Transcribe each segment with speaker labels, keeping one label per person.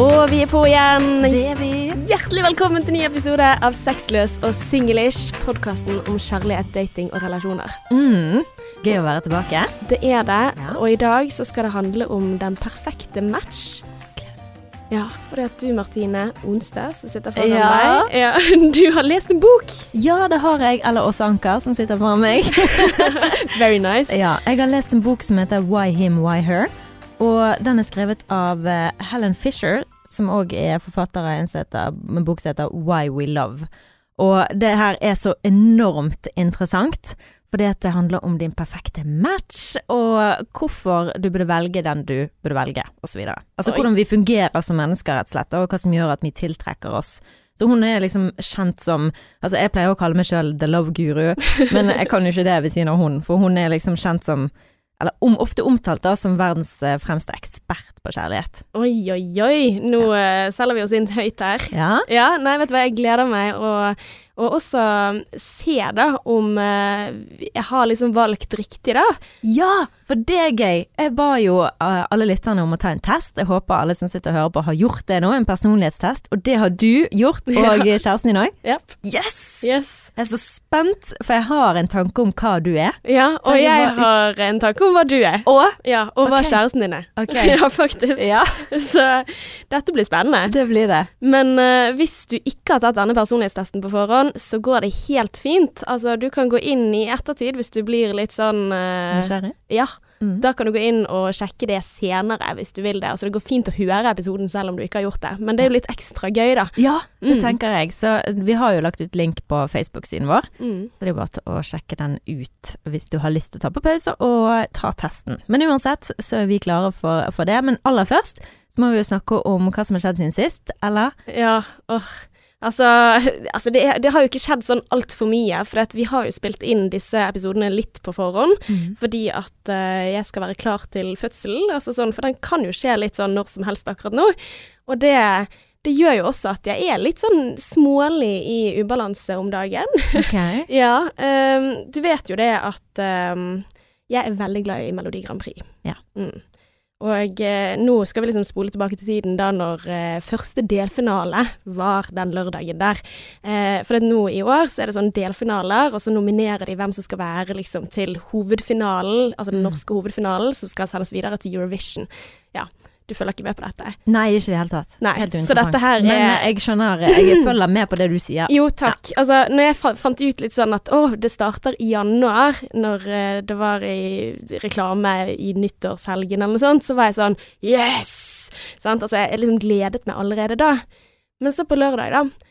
Speaker 1: Og vi er på igjen.
Speaker 2: er vi.
Speaker 1: Hjertelig velkommen til ny episode av Sexløs og singlish, podkasten om kjærlighet, dating og relasjoner.
Speaker 2: Mm. Gøy å være tilbake.
Speaker 1: Det er det,
Speaker 2: Ja.
Speaker 1: og i dag så skal det handle om den perfekte match. Ja, fordi at du, Martine Onstad, som sitter foran
Speaker 2: Ja.
Speaker 1: deg, ja, du har lest en bok.
Speaker 2: Ja, det har jeg. Eller Åse Anker, som sitter foran meg.
Speaker 1: Very nice.
Speaker 2: ja, jeg har lest en bok som heter Why Him, Why Her. Og den er skrevet av eh, Helen Fisher, som òg er forfatter av en, som heter- en bok som heter Why We Love. Og det her er så enormt interessant, fordi at det handler om din perfekte match, og hvorfor du burde velge den du burde velge, osv. Altså
Speaker 1: Oi.
Speaker 2: hvordan vi fungerer som mennesker, rett og slett, og hva som gjør at vi tiltrekker oss. Så hun er liksom kjent som Altså, jeg pleier å kalle meg sjøl the love guru, men jeg kan jo ikke det ved siden av hun, for hun er liksom kjent som eller om, ofte omtalt da som verdens eh, fremste ekspert på kjærlighet.
Speaker 1: Oi, oi, oi. Nå eh, selger vi oss inn høyt her.
Speaker 2: Ja.
Speaker 1: Ja, nei, vet du hva, jeg gleder meg å og også se da om eh, jeg har liksom valgt riktig da.
Speaker 2: Ja, for det er gøy. Jeg ba jo eh, alle lytterne om å ta en test. Jeg håper alle som sitter og hører på har gjort det nå, en personlighetstest. Og det har du gjort, og eh, kjæresten din òg.
Speaker 1: Yep.
Speaker 2: Yes!
Speaker 1: Yes.
Speaker 2: Jeg er så spent, for jeg har en tanke om hva du er.
Speaker 1: Ja,
Speaker 2: Så
Speaker 1: og
Speaker 2: jeg
Speaker 1: jeg
Speaker 2: var ut-
Speaker 1: har en tanke om hva du er.
Speaker 2: Og
Speaker 1: Ja, og hva
Speaker 2: Ok.
Speaker 1: kjæresten din er.
Speaker 2: Ok.
Speaker 1: ja, faktisk.
Speaker 2: Ja,
Speaker 1: Så dette blir spennende.
Speaker 2: det blir det.
Speaker 1: Men eh, hvis du ikke har tatt denne personlighetstesten på forhånd, så går det helt fint. Altså, du kan gå inn i ettertid hvis du blir litt sånn eh,
Speaker 2: Nysgjerrig?
Speaker 1: Ja.
Speaker 2: Mm.
Speaker 1: Da kan du gå inn og sjekke det senere hvis du vil det. Altså, det går fint å høre episoden selv om du ikke har gjort det, men det er jo litt ekstra gøy, da.
Speaker 2: Ja, det
Speaker 1: Mm.
Speaker 2: tenker jeg. Så eh, vi har jo lagt ut link på Facebook-siden vår.
Speaker 1: Mm.
Speaker 2: Så det er bare til å sjekke den ut hvis du har lyst til å ta på pause og ta testen. Men uansett så er vi klare for, for det. Men aller først så må vi jo snakke om hva som har skjedd siden sist, eller?
Speaker 1: Ja, åh. Altså, altså det, er, det har jo ikke skjedd sånn altfor mye, for at vi har jo spilt inn disse episodene litt på forhånd.
Speaker 2: Mm,
Speaker 1: Fordi at eh, jeg skal være klar til fødselen, altså sånn, for den kan jo skje litt sånn når som helst akkurat nå. Og det, det gjør jo også at jeg er litt sånn smålig i ubalanse om dagen.
Speaker 2: Ok.
Speaker 1: Ja, ehm, du vet jo det at ehm, jeg er veldig glad i Melodi Grand Prix.
Speaker 2: Ja.
Speaker 1: Mm. Og eh, nå skal vi liksom spole tilbake til tiden da når eh, første delfinale var den lørdagen der. Eh, for at nå i år så er det sånn delfinaler, og så nominerer de hvem som skal være liksom til hovedfinalen, altså den norske hovedfinalen, som skal sendes videre til Eurovision. Ja, du følger ikke med på dette?
Speaker 2: Nei, ikke i det hele tatt.
Speaker 1: Nei,
Speaker 2: Helt
Speaker 1: så
Speaker 2: uinteressant.
Speaker 1: dette her er-
Speaker 2: Men eh, jeg skjønner, jeg følger med på det du sier.
Speaker 1: Jo, takk. Altså, når jeg fa fant ut litt sånn at å, det starter i januar, når eh, det var i reklame i nyttårshelgen eller noe sånt, så var jeg sånn yes! Sant? Altså, jeg liksom gledet meg allerede da. Men så på lørdag, da,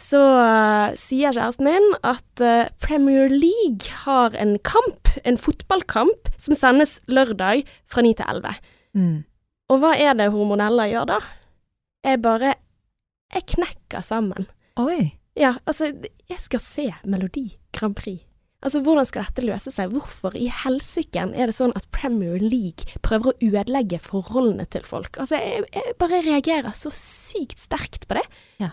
Speaker 1: så eh, sier kjæresten min at eh, Premier League har en kamp, en fotballkamp, som sendes lørdag fra 9 til 11.
Speaker 2: Mm.
Speaker 1: Og hva er det hormonella gjør da? Jeg bare Jeg knekker sammen.
Speaker 2: Oi.
Speaker 1: Ja, altså, jeg skal se Melodi Grand Prix. Altså, hvordan skal dette løse seg? Hvorfor i helsiken er det sånn at Premier League prøver å ødelegge forholdene til folk? Altså, jeg, jeg bare reagerer så sykt sterkt på det.
Speaker 2: Ja.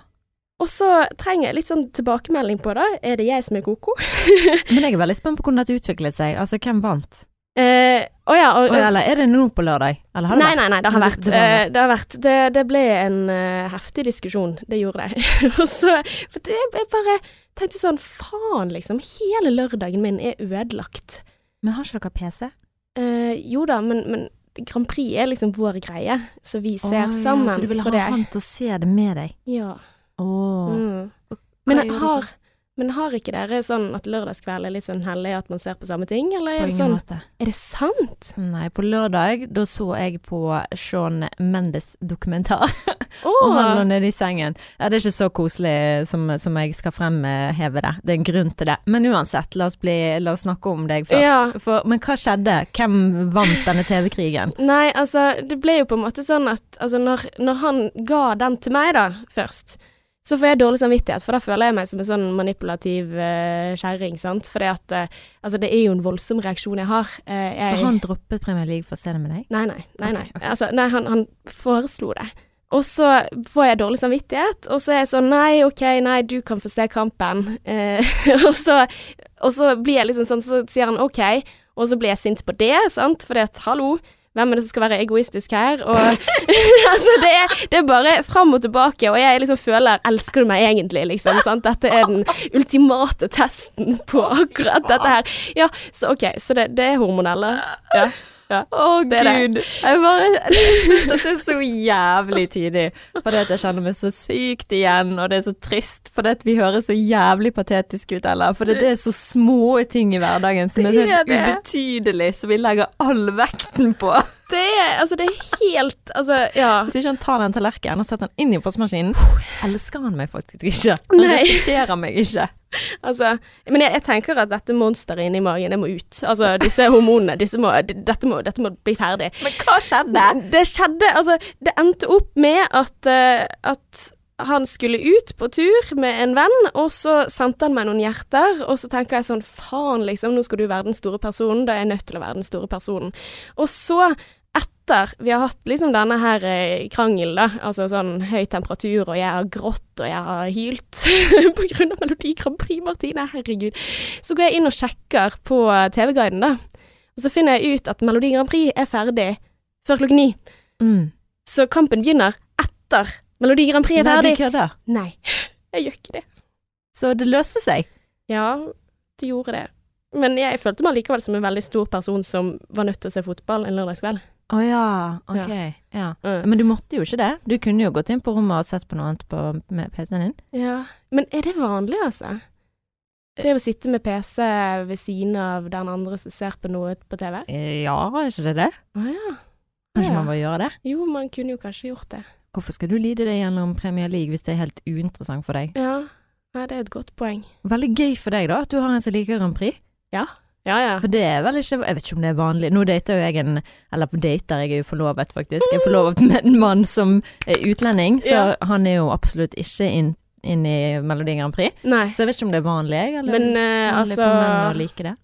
Speaker 1: Og så trenger jeg litt sånn tilbakemelding på det. Er det jeg som er koko?
Speaker 2: Men jeg er veldig spent på hvordan dette utviklet seg. Altså, hvem vant?
Speaker 1: Eh, å ja, og,
Speaker 2: Oi, eller er det nå på lørdag? Eller har det
Speaker 1: nei,
Speaker 2: vært?
Speaker 1: nei, nei, det har
Speaker 2: Men
Speaker 1: vært.
Speaker 2: det- det var-
Speaker 1: eh, Det, har vært. det, det ble en eh, heftig diskusjon, det gjorde det. og så, for det, jeg bare tenkte sånn, faen liksom, hele lørdagen min er ødelagt.
Speaker 2: Men har ikke dere PC?
Speaker 1: Eh, jo da, men, men Grand Prix er liksom vår greie, så vi
Speaker 2: Å,
Speaker 1: ser
Speaker 2: ja,
Speaker 1: sammen,
Speaker 2: Så du vil ha
Speaker 1: tror jeg.
Speaker 2: han til å se det med deg?
Speaker 1: Ja.
Speaker 2: Åh.
Speaker 1: Mm.
Speaker 2: Hva
Speaker 1: Men,
Speaker 2: gjør dere
Speaker 1: har, men har ikke dere sånn at lørdagskveld er litt sånn hellig, at man ser på samme ting, eller er
Speaker 2: på
Speaker 1: det
Speaker 2: ingen
Speaker 1: sånn?
Speaker 2: måte?
Speaker 1: Er det sant?
Speaker 2: Nei, på lørdag da så jeg på Sean Mendes dokumentar.
Speaker 1: Å!
Speaker 2: Og han lå nede i sengen. Ja, det er ikke så koselig som, som jeg skal fremheve det. Det er en grunn til det. Men uansett, la oss, bli, la oss snakke om deg først.
Speaker 1: Ja.
Speaker 2: For, men hva skjedde? Hvem vant denne TV-krigen?
Speaker 1: Nei, altså, det ble jo på en måte sånn at altså, når, når han ga den til meg, da, først, så får jeg dårlig samvittighet, for da føler jeg meg som en sånn manipulativ eh, kjerring, sant. For altså, det er jo en voldsom reaksjon jeg har. Eh, jeg,
Speaker 2: Så han droppet Premier League for å se det med deg?
Speaker 1: Nei, nei. nei,
Speaker 2: Ok,
Speaker 1: nei.
Speaker 2: ok.
Speaker 1: Altså, nei han, han foreslo det. Og så får jeg dårlig samvittighet, og så er jeg sånn Nei, OK, nei, du kan få se kampen. Eh, og, så, og så blir jeg liksom sånn, så sier han OK, og så blir jeg sint på det, sant, fordi at hallo, Hvem er det som skal være egoistisk her? Og altså, det er, det er bare fram og tilbake, og jeg liksom føler Elsker du meg egentlig, liksom? Sant? Dette er den ultimate testen på akkurat dette her. Ja, så OK, så det, det er hormonelle. Ja. ja.
Speaker 2: Å,
Speaker 1: Det er det.
Speaker 2: gud. Jeg bare jeg synes dette er så jævlig tidlig. Fordi at jeg kjenner meg så sykt igjen, og det er så trist. Fordi at vi høres så jævlig patetiske ut, Ella. Fordi det er så små ting i hverdagen som er så
Speaker 1: Det er
Speaker 2: helt
Speaker 1: det.
Speaker 2: ubetydelig, som vi legger all vekten på.
Speaker 1: Det er altså, det er helt Altså, ja.
Speaker 2: Hvis ikke han tar den tallerkenen og setter den inn i oppvaskmaskinen, elsker han meg faktisk ikke. Han
Speaker 1: Nei.
Speaker 2: respekterer meg ikke.
Speaker 1: Altså, men jeg, jeg tenker at dette monsteret inni magen, det må ut. Altså, disse hormonene, disse må, d- dette, må, dette må bli ferdig.
Speaker 2: Men hva skjedde?
Speaker 1: Det skjedde, altså, det endte opp med at, eh, at han skulle ut på tur med en venn, og så sendte han meg noen hjerter, og så tenker jeg sånn, faen liksom, nå skal du være den store personen, da er jeg nødt til å være den store personen. Og så, etter vi har hatt liksom denne her eh, krangelen da, altså sånn høy temperatur, og jeg har grått, og jeg har hylt på grunn av Melodi Grand Prix, Martine, herregud, så går jeg inn og sjekker på TV-guiden da, og så finner jeg ut at Melodi Grand Prix er ferdig før klokken ni.
Speaker 2: Mm.
Speaker 1: Så kampen begynner etter Melodi Grand Prix er
Speaker 2: Nei, du
Speaker 1: ferdig.
Speaker 2: kødder.
Speaker 1: Nei, jeg gjør ikke det.
Speaker 2: Så det løste seg.
Speaker 1: Ja, det gjorde det. Men jeg følte meg likevel som en veldig stor person som var nødt til å se fotball en lørdagskveld.
Speaker 2: Å ja, ok. Ja.
Speaker 1: Mm.
Speaker 2: Men du måtte jo ikke det. Du kunne jo gått inn på rommet og sett på noe annet på, med PC-en din.
Speaker 1: Ja. Men er det vanlig, altså? Det å sitte med PC ved siden av den andre som ser på noe på TV?
Speaker 2: Eh, Ja, er ikke det det?
Speaker 1: Å ja.
Speaker 2: Kanskje
Speaker 1: Ja.
Speaker 2: man bare gjør det?
Speaker 1: Jo, man kunne jo kanskje gjort det.
Speaker 2: Hvorfor skal du lide det gjennom Premier League hvis det er helt uinteressant for deg?
Speaker 1: Ja. Nei, det er et godt poeng.
Speaker 2: Veldig gøy for deg da, at du har en som liker Grand Prix.
Speaker 1: Ja, ja.
Speaker 2: For det er vel ikke Jeg vet ikke om det er vanlig. Nå dater jo jeg en Eller dater, jeg er jo forlovet, faktisk. Jeg er forlovet med en mann som er utlending, så
Speaker 1: Ja.
Speaker 2: han er jo absolutt ikke inn, inn i Melodi Grand Prix.
Speaker 1: Nei.
Speaker 2: Så jeg vet ikke om det er vanlig, jeg. Eller
Speaker 1: Men eh,
Speaker 2: vanlig
Speaker 1: altså
Speaker 2: for menn å like det.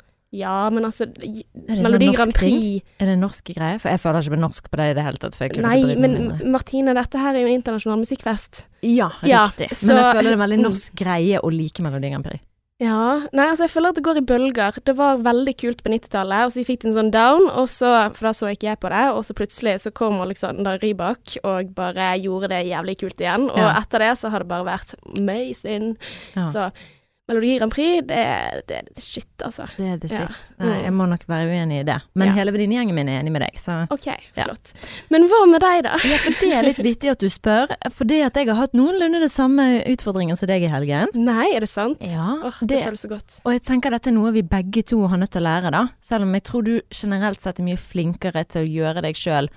Speaker 1: Ja, men altså
Speaker 2: Er det en
Speaker 1: Melodi
Speaker 2: norsk
Speaker 1: Grand
Speaker 2: ting?
Speaker 1: Prix
Speaker 2: Er det en norsk greie? For jeg føler ikke meg norsk på det i det hele tatt. For jeg kunne ikke
Speaker 1: Nei,
Speaker 2: drive med
Speaker 1: men
Speaker 2: det.
Speaker 1: Martine, dette her er jo internasjonal musikkfest.
Speaker 2: Ja,
Speaker 1: Ja,
Speaker 2: riktig.
Speaker 1: så-
Speaker 2: Men jeg føler det er en veldig
Speaker 1: Mm.
Speaker 2: norsk greie å like Melodi Grand Prix.
Speaker 1: Ja. Nei, altså, jeg føler at det går i bølger. Det var veldig kult på 90-tallet, og så fikk det en sånn down, og så, for da så ikke jeg på det, og så plutselig så kom Alexander Rybak og bare gjorde det jævlig kult igjen, og
Speaker 2: Ja.
Speaker 1: etter det så har det bare vært amazing.
Speaker 2: Ja.
Speaker 1: Så Melodi Grand Prix, det, det er the shit, altså.
Speaker 2: Det er the
Speaker 1: Ja.
Speaker 2: shit. Nei, jeg må nok være uenig i det. Men
Speaker 1: Ja.
Speaker 2: hele venninnegjengen min er enig med deg, så
Speaker 1: OK,
Speaker 2: Ja.
Speaker 1: flott. Men hva med deg, da?
Speaker 2: ja, for Det er litt vittig at du spør, fordi at jeg har hatt noenlunde det samme utfordringen som deg i helgen.
Speaker 1: Nei, er det sant?
Speaker 2: Ja,
Speaker 1: Åh, det,
Speaker 2: det,
Speaker 1: føles så godt.
Speaker 2: og jeg tenker dette er noe vi begge to har nødt til å lære, da. Selv om jeg tror du generelt sett er mye flinkere til å gjøre deg sjøl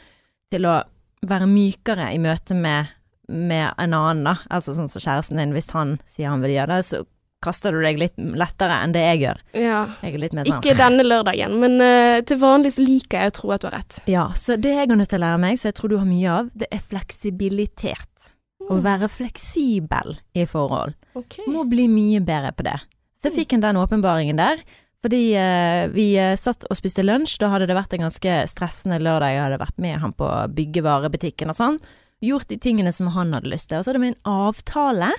Speaker 2: til å være mykere i møte med, med en annen, da. Altså sånn som kjæresten din, hvis han sier han vil gjøre det, så kaster du deg litt lettere enn det jeg gjør.
Speaker 1: Ja.
Speaker 2: Jeg er litt mer sånn
Speaker 1: Ikke denne lørdagen, men eh, til vanlig så liker jeg å tro at du har rett.
Speaker 2: Ja, så det jeg er nødt til å lære meg, som jeg tror du har mye av, det er fleksibilitet. Å være fleksibel i forhold.
Speaker 1: Ok.
Speaker 2: Må bli mye bedre på det. Så jeg fikk en den åpenbaringen der. Fordi eh, vi eh, satt og spiste lunsj, da hadde det vært en ganske stressende lørdag. Jeg hadde vært med han på byggevarebutikken og sånn. Gjort de tingene som han hadde lyst til. Og så hadde vi en avtale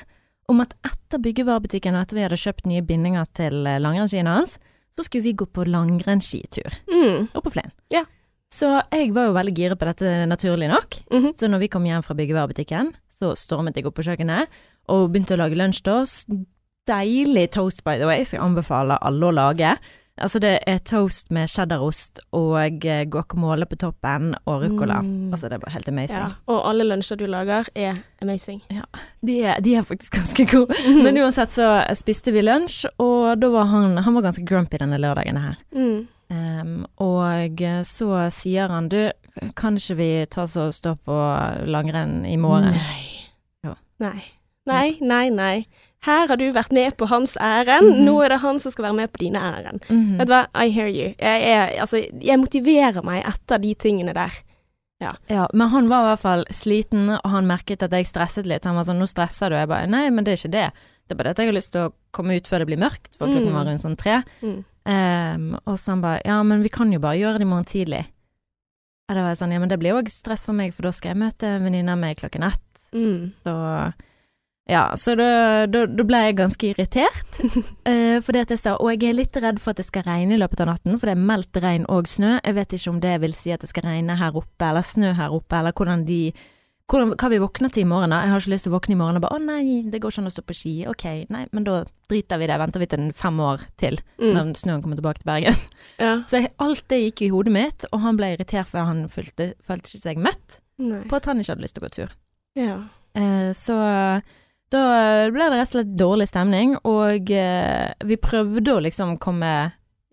Speaker 2: om at etter byggevarebutikken og etter vi hadde kjøpt nye bindinger til eh, langrennsskiene hans, så skulle vi gå på langrennsskitur
Speaker 1: Mm.
Speaker 2: og på Flen.
Speaker 1: Ja.
Speaker 2: Så jeg var jo veldig gira på dette, naturlig nok.
Speaker 1: Mhm.
Speaker 2: Så når vi kom hjem fra byggevarebutikken, så stormet jeg opp på kjøkkenet og begynte å lage lunsj til oss. Deilig toast, by the way. Skal jeg anbefale alle å lage. Altså, det er toast med cheddarost og eh, guacamole på toppen og ruccola.
Speaker 1: Mm.
Speaker 2: Altså, det er bare helt amazing.
Speaker 1: Ja, og alle lunsjer du lager er amazing.
Speaker 2: De, er, de er faktisk ganske gode.
Speaker 1: Mm.
Speaker 2: Men uansett så spiste vi lunsj, og da var han Han var ganske grumpy denne lørdagen her.
Speaker 1: Mm.
Speaker 2: Ehm, og så sier han Du, kan ikke vi ta oss og stå på langrenn i morgen?
Speaker 1: Mm. Nei.
Speaker 2: Ja.
Speaker 1: Nei. Nei, nei, nei. Her har du vært med på hans ærend,
Speaker 2: Mhm.
Speaker 1: nå er det han som skal være med på dine ærend.
Speaker 2: Mhm.
Speaker 1: Vet du hva, I hear you. Jeg, er, altså, jeg motiverer meg etter de tingene der.
Speaker 2: Ja, men han var i hvert fall sliten, og han merket at jeg stresset litt. Han var sånn 'Nå stresser du.' Jeg bare 'Nei, men det er ikke det. Det er bare det at jeg har lyst til å komme ut før det blir mørkt, for klokken
Speaker 1: Mm.
Speaker 2: var rundt sånn tre.'
Speaker 1: Mm.
Speaker 2: Ehm, og så han bare 'Ja, men vi kan jo bare gjøre det i morgen tidlig'. Og da var jeg sånn 'Ja, men det blir jo også stress for meg, for da skal jeg møte en venninne av meg klokken ett'.
Speaker 1: Mm.
Speaker 2: Så Ja, så da, da, da ble jeg ganske irritert. eh, fordi at jeg sa Og jeg er litt redd for at det skal regne i løpet av natten, for det er meldt regn og snø. Jeg vet ikke om det vil si at det skal regne her oppe, eller snø her oppe, eller hvordan de hvordan, Hva vi våkner til i morgen, da. Jeg har ikke lyst til å våkne i morgen og bare Å nei, det går ikke an å stå på ski. Ok, nei, men da driter vi i det. Venter vi til en fem år til,
Speaker 1: Mm.
Speaker 2: når snøen kommer tilbake til Bergen.
Speaker 1: Ja.
Speaker 2: Så jeg, alt det gikk i hodet mitt, og han ble irritert for han følte, følte ikke seg møtt
Speaker 1: Nei.
Speaker 2: på at han ikke hadde lyst til å gå tur.
Speaker 1: Ja.
Speaker 2: Eh, så da ble det rett og slett dårlig stemning, og eh, vi prøvde å liksom komme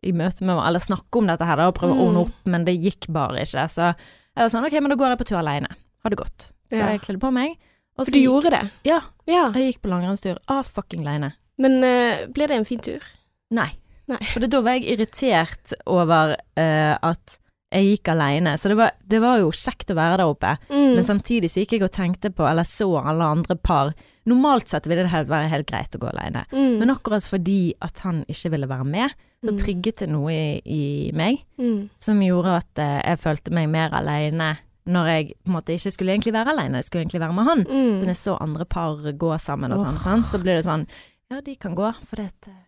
Speaker 2: i møte med eller snakke om dette her da, og prøve å
Speaker 1: Mm.
Speaker 2: ordne opp, men det gikk bare ikke. Så jeg var sånn OK, men da går jeg på tur alene. Ha det godt. Så
Speaker 1: Ja.
Speaker 2: jeg kledde på meg. Og
Speaker 1: For
Speaker 2: så
Speaker 1: du gjorde det?
Speaker 2: Ja.
Speaker 1: Ja.
Speaker 2: jeg gikk på langrennstur av fucking leine.
Speaker 1: Men eh, ble det en fin tur?
Speaker 2: Nei.
Speaker 1: Nei.
Speaker 2: For det, da var jeg irritert over eh, at jeg gikk alene. Så det var, det var jo kjekt å være der oppe.
Speaker 1: Mm.
Speaker 2: Men samtidig så gikk jeg og tenkte på, eller så alle andre par Normalt sett ville det he- være helt greit å gå alene.
Speaker 1: mm.
Speaker 2: Men akkurat fordi at han ikke ville være med, så
Speaker 1: Mm.
Speaker 2: trigget det noe i, i meg
Speaker 1: Mm.
Speaker 2: som gjorde at eh, jeg følte meg mer alene når jeg på en måte ikke skulle egentlig være alene, jeg skulle egentlig være med han. Så
Speaker 1: Mm.
Speaker 2: når jeg så andre par gå sammen og sånn, sant, så blir det sånn Ja, de kan gå, for det at eh,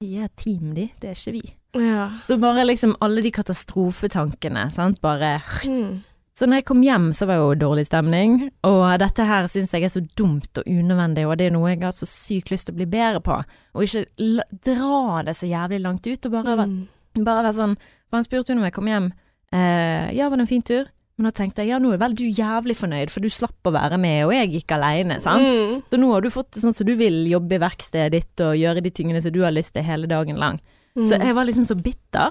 Speaker 2: de er et team, de. Det er ikke vi.
Speaker 1: Ja.
Speaker 2: Så bare liksom alle de katastrofetankene, sant, bare
Speaker 1: Mm.
Speaker 2: så når jeg kom hjem, så var det jo dårlig stemning, og dette her syns jeg er så dumt og unødvendig, og det er noe jeg har så sykt lyst til å bli bedre på, og ikke la- dra det så jævlig langt ut, og
Speaker 1: Mm.
Speaker 2: bare, være- bare være sånn For han spurte jo når jeg kom hjem, eh, ja, var det en fin tur? Men da tenkte jeg, ja, nå er vel du jævlig fornøyd, for du slapp å være med, og jeg gikk alene, sant?
Speaker 1: Mm.
Speaker 2: Så nå har du fått det sånn som du vil, jobbe i verkstedet ditt og gjøre de tingene som du har lyst til hele dagen lang.
Speaker 1: Mm.
Speaker 2: Så jeg var liksom så bitter.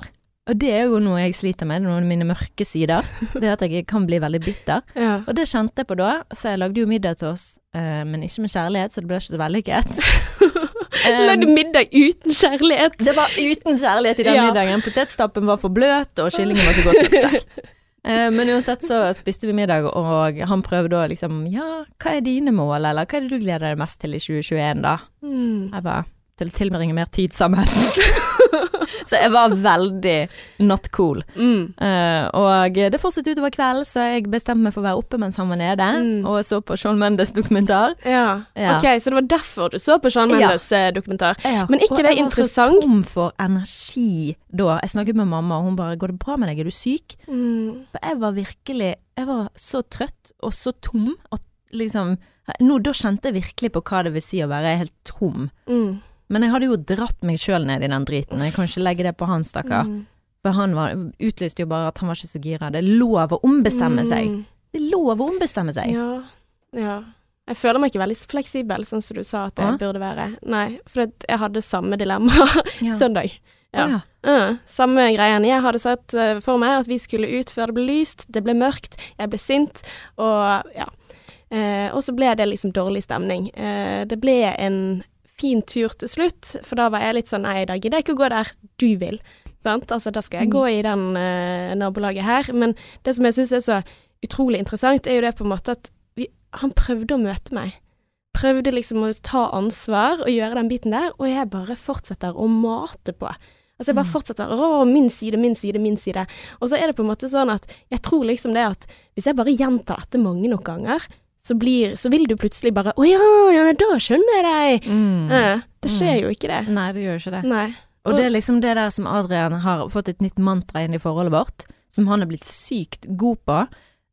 Speaker 2: Og det er jo noe jeg sliter med, det er noen av mine mørke sider. Det er at jeg kan bli veldig bitter.
Speaker 1: Mm. ja.
Speaker 2: Og det kjente jeg på da, så jeg lagde jo middag til oss, eh, men ikke med kjærlighet, så det ble ikke så vellykket. Eh,
Speaker 1: Du lagde middag uten kjærlighet.
Speaker 2: Det var uten kjærlighet i den
Speaker 1: Ja.
Speaker 2: middagen. Potetstappen var for bløt, og kyllingen var ikke godt nok stekt. Eh, Men uansett så spiste vi middag, og han prøvde å liksom Ja, hva er dine mål, eller hva er det du gleder deg mest til i 2021, da?
Speaker 1: Mm.
Speaker 2: Jeg bare Til å tilbringe mer tid sammen. så jeg var veldig not cool.
Speaker 1: Mm.
Speaker 2: Eh, og det fortsatte utover kvelden, så jeg bestemte meg for å være oppe mens han var nede,
Speaker 1: Mm.
Speaker 2: og så på Sean Mendes dokumentar.
Speaker 1: Ja.
Speaker 2: Ja.
Speaker 1: OK, så det var derfor du så på Sean
Speaker 2: Ja.
Speaker 1: Mendes eh, dokumentar.
Speaker 2: Ja.
Speaker 1: Men ikke
Speaker 2: og
Speaker 1: det
Speaker 2: jeg var
Speaker 1: interessant?
Speaker 2: så tom for energi da. Jeg snakket med mamma, og hun bare 'Går det bra med deg? Er du syk?'
Speaker 1: Mm.
Speaker 2: For jeg var virkelig Jeg var så trøtt og så tom, og liksom nå, Da kjente jeg virkelig på hva det vil si å være helt tom.
Speaker 1: Mm.
Speaker 2: Men jeg hadde jo dratt meg sjøl ned i den driten. Jeg kan ikke legge det på han, stakkar.
Speaker 1: Mm.
Speaker 2: For han var, utlyste jo bare at han var ikke så gira. Det er lov å ombestemme seg.
Speaker 1: Mm.
Speaker 2: Det er lov å ombestemme seg.
Speaker 1: Ja. ja. Jeg føler meg ikke veldig fleksibel, sånn som du sa at jeg
Speaker 2: Ah.
Speaker 1: burde være. Nei, for at jeg hadde samme dilemma
Speaker 2: Ja.
Speaker 1: søndag. Ja.
Speaker 2: Å, ja.
Speaker 1: Ja, samme greien. Jeg hadde sett eh, for meg at vi skulle ut før det ble lyst, det ble mørkt, jeg ble sint, og ja. Eh, og så ble det liksom dårlig stemning. Eh, det ble en fin tur til slutt, for da var jeg litt sånn nei, da gidder jeg ikke å gå der du vil. Sant? Altså, da skal jeg gå i den eh, nabolaget her. Men det som jeg syns er så utrolig interessant, er jo det på en måte at vi, han prøvde å møte meg. Prøvde liksom å ta ansvar og gjøre den biten der, og jeg bare fortsetter å mate på. Altså jeg bare fortsetter. Å, min side, min side, min side. Og så er det på en måte sånn at jeg tror liksom det at hvis jeg bare gjentar dette mange nok ganger, så, blir, så vil du plutselig bare Å ja, ja, da skjønner jeg deg. Eh, det skjer jo ikke det.
Speaker 2: Mm. Nei, det gjør ikke det.
Speaker 1: Nei.
Speaker 2: Og det er liksom det der som Adrian har fått et nytt mantra inn i forholdet vårt, som han er blitt sykt god på.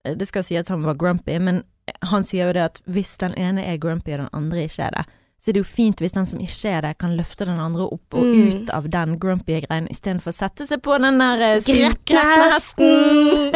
Speaker 2: Eh, Det skal sies han var grumpy, men han sier jo det at hvis den ene er grumpy og den andre ikke er det, så er det jo fint hvis den som ikke er det, kan løfte den andre opp og
Speaker 1: Mm.
Speaker 2: ut av den grumpy greien, istedenfor å sette seg på den der eh, sin-
Speaker 1: Gretne hesten!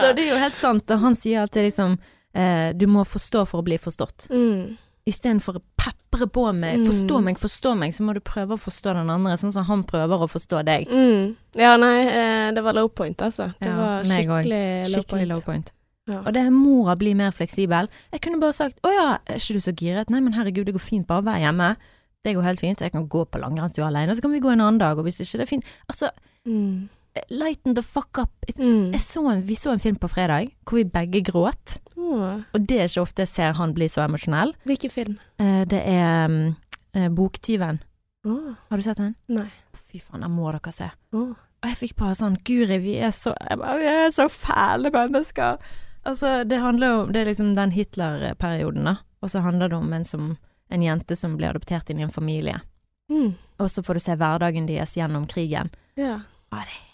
Speaker 2: Så det er jo helt sant, og han sier alltid liksom eh, du må forstå for å bli forstått.
Speaker 1: Mm.
Speaker 2: Istedenfor å pepre på med
Speaker 1: Mm.
Speaker 2: 'forstå meg, forstå meg', så må du prøve å forstå den andre, sånn som han prøver å forstå deg.
Speaker 1: Mm. Ja, nei, eh, det var low point, altså. Det
Speaker 2: Ja,
Speaker 1: var
Speaker 2: meg også.
Speaker 1: skikkelig, low
Speaker 2: Skikkelig
Speaker 1: point.
Speaker 2: low point.
Speaker 1: Ja.
Speaker 2: Og det må bli mer fleksibel. Jeg kunne bare sagt 'Å ja, er ikke du så giret?' Nei, men herregud, det går fint, bare vær hjemme. Det går helt fint, jeg kan gå på langrennstur alene, så kan vi gå en annen dag, og hvis ikke det er fint Altså,
Speaker 1: Mm.
Speaker 2: lighten the fuck up.
Speaker 1: Mm.
Speaker 2: Jeg så en, vi så en film på fredag hvor vi begge gråt,
Speaker 1: Å,
Speaker 2: og det er ikke ofte jeg ser han bli så emosjonell.
Speaker 1: hvilken film?
Speaker 2: Eh, Det er mm, eh, Boktyven.
Speaker 1: Å,
Speaker 2: Har du sett den?
Speaker 1: Nei.
Speaker 2: Fy faen, den må dere se.
Speaker 1: å.
Speaker 2: Og jeg fikk bare sånn Guri, vi er så, jeg bare, vi er så fæle mennesker. Altså, det handler jo om Det er liksom den Hitler-perioden, da. og så handler det om en, som, en jente som blir adoptert inn i en familie.
Speaker 1: Mm.
Speaker 2: Og så får du se hverdagen deres gjennom krigen.
Speaker 1: Ja.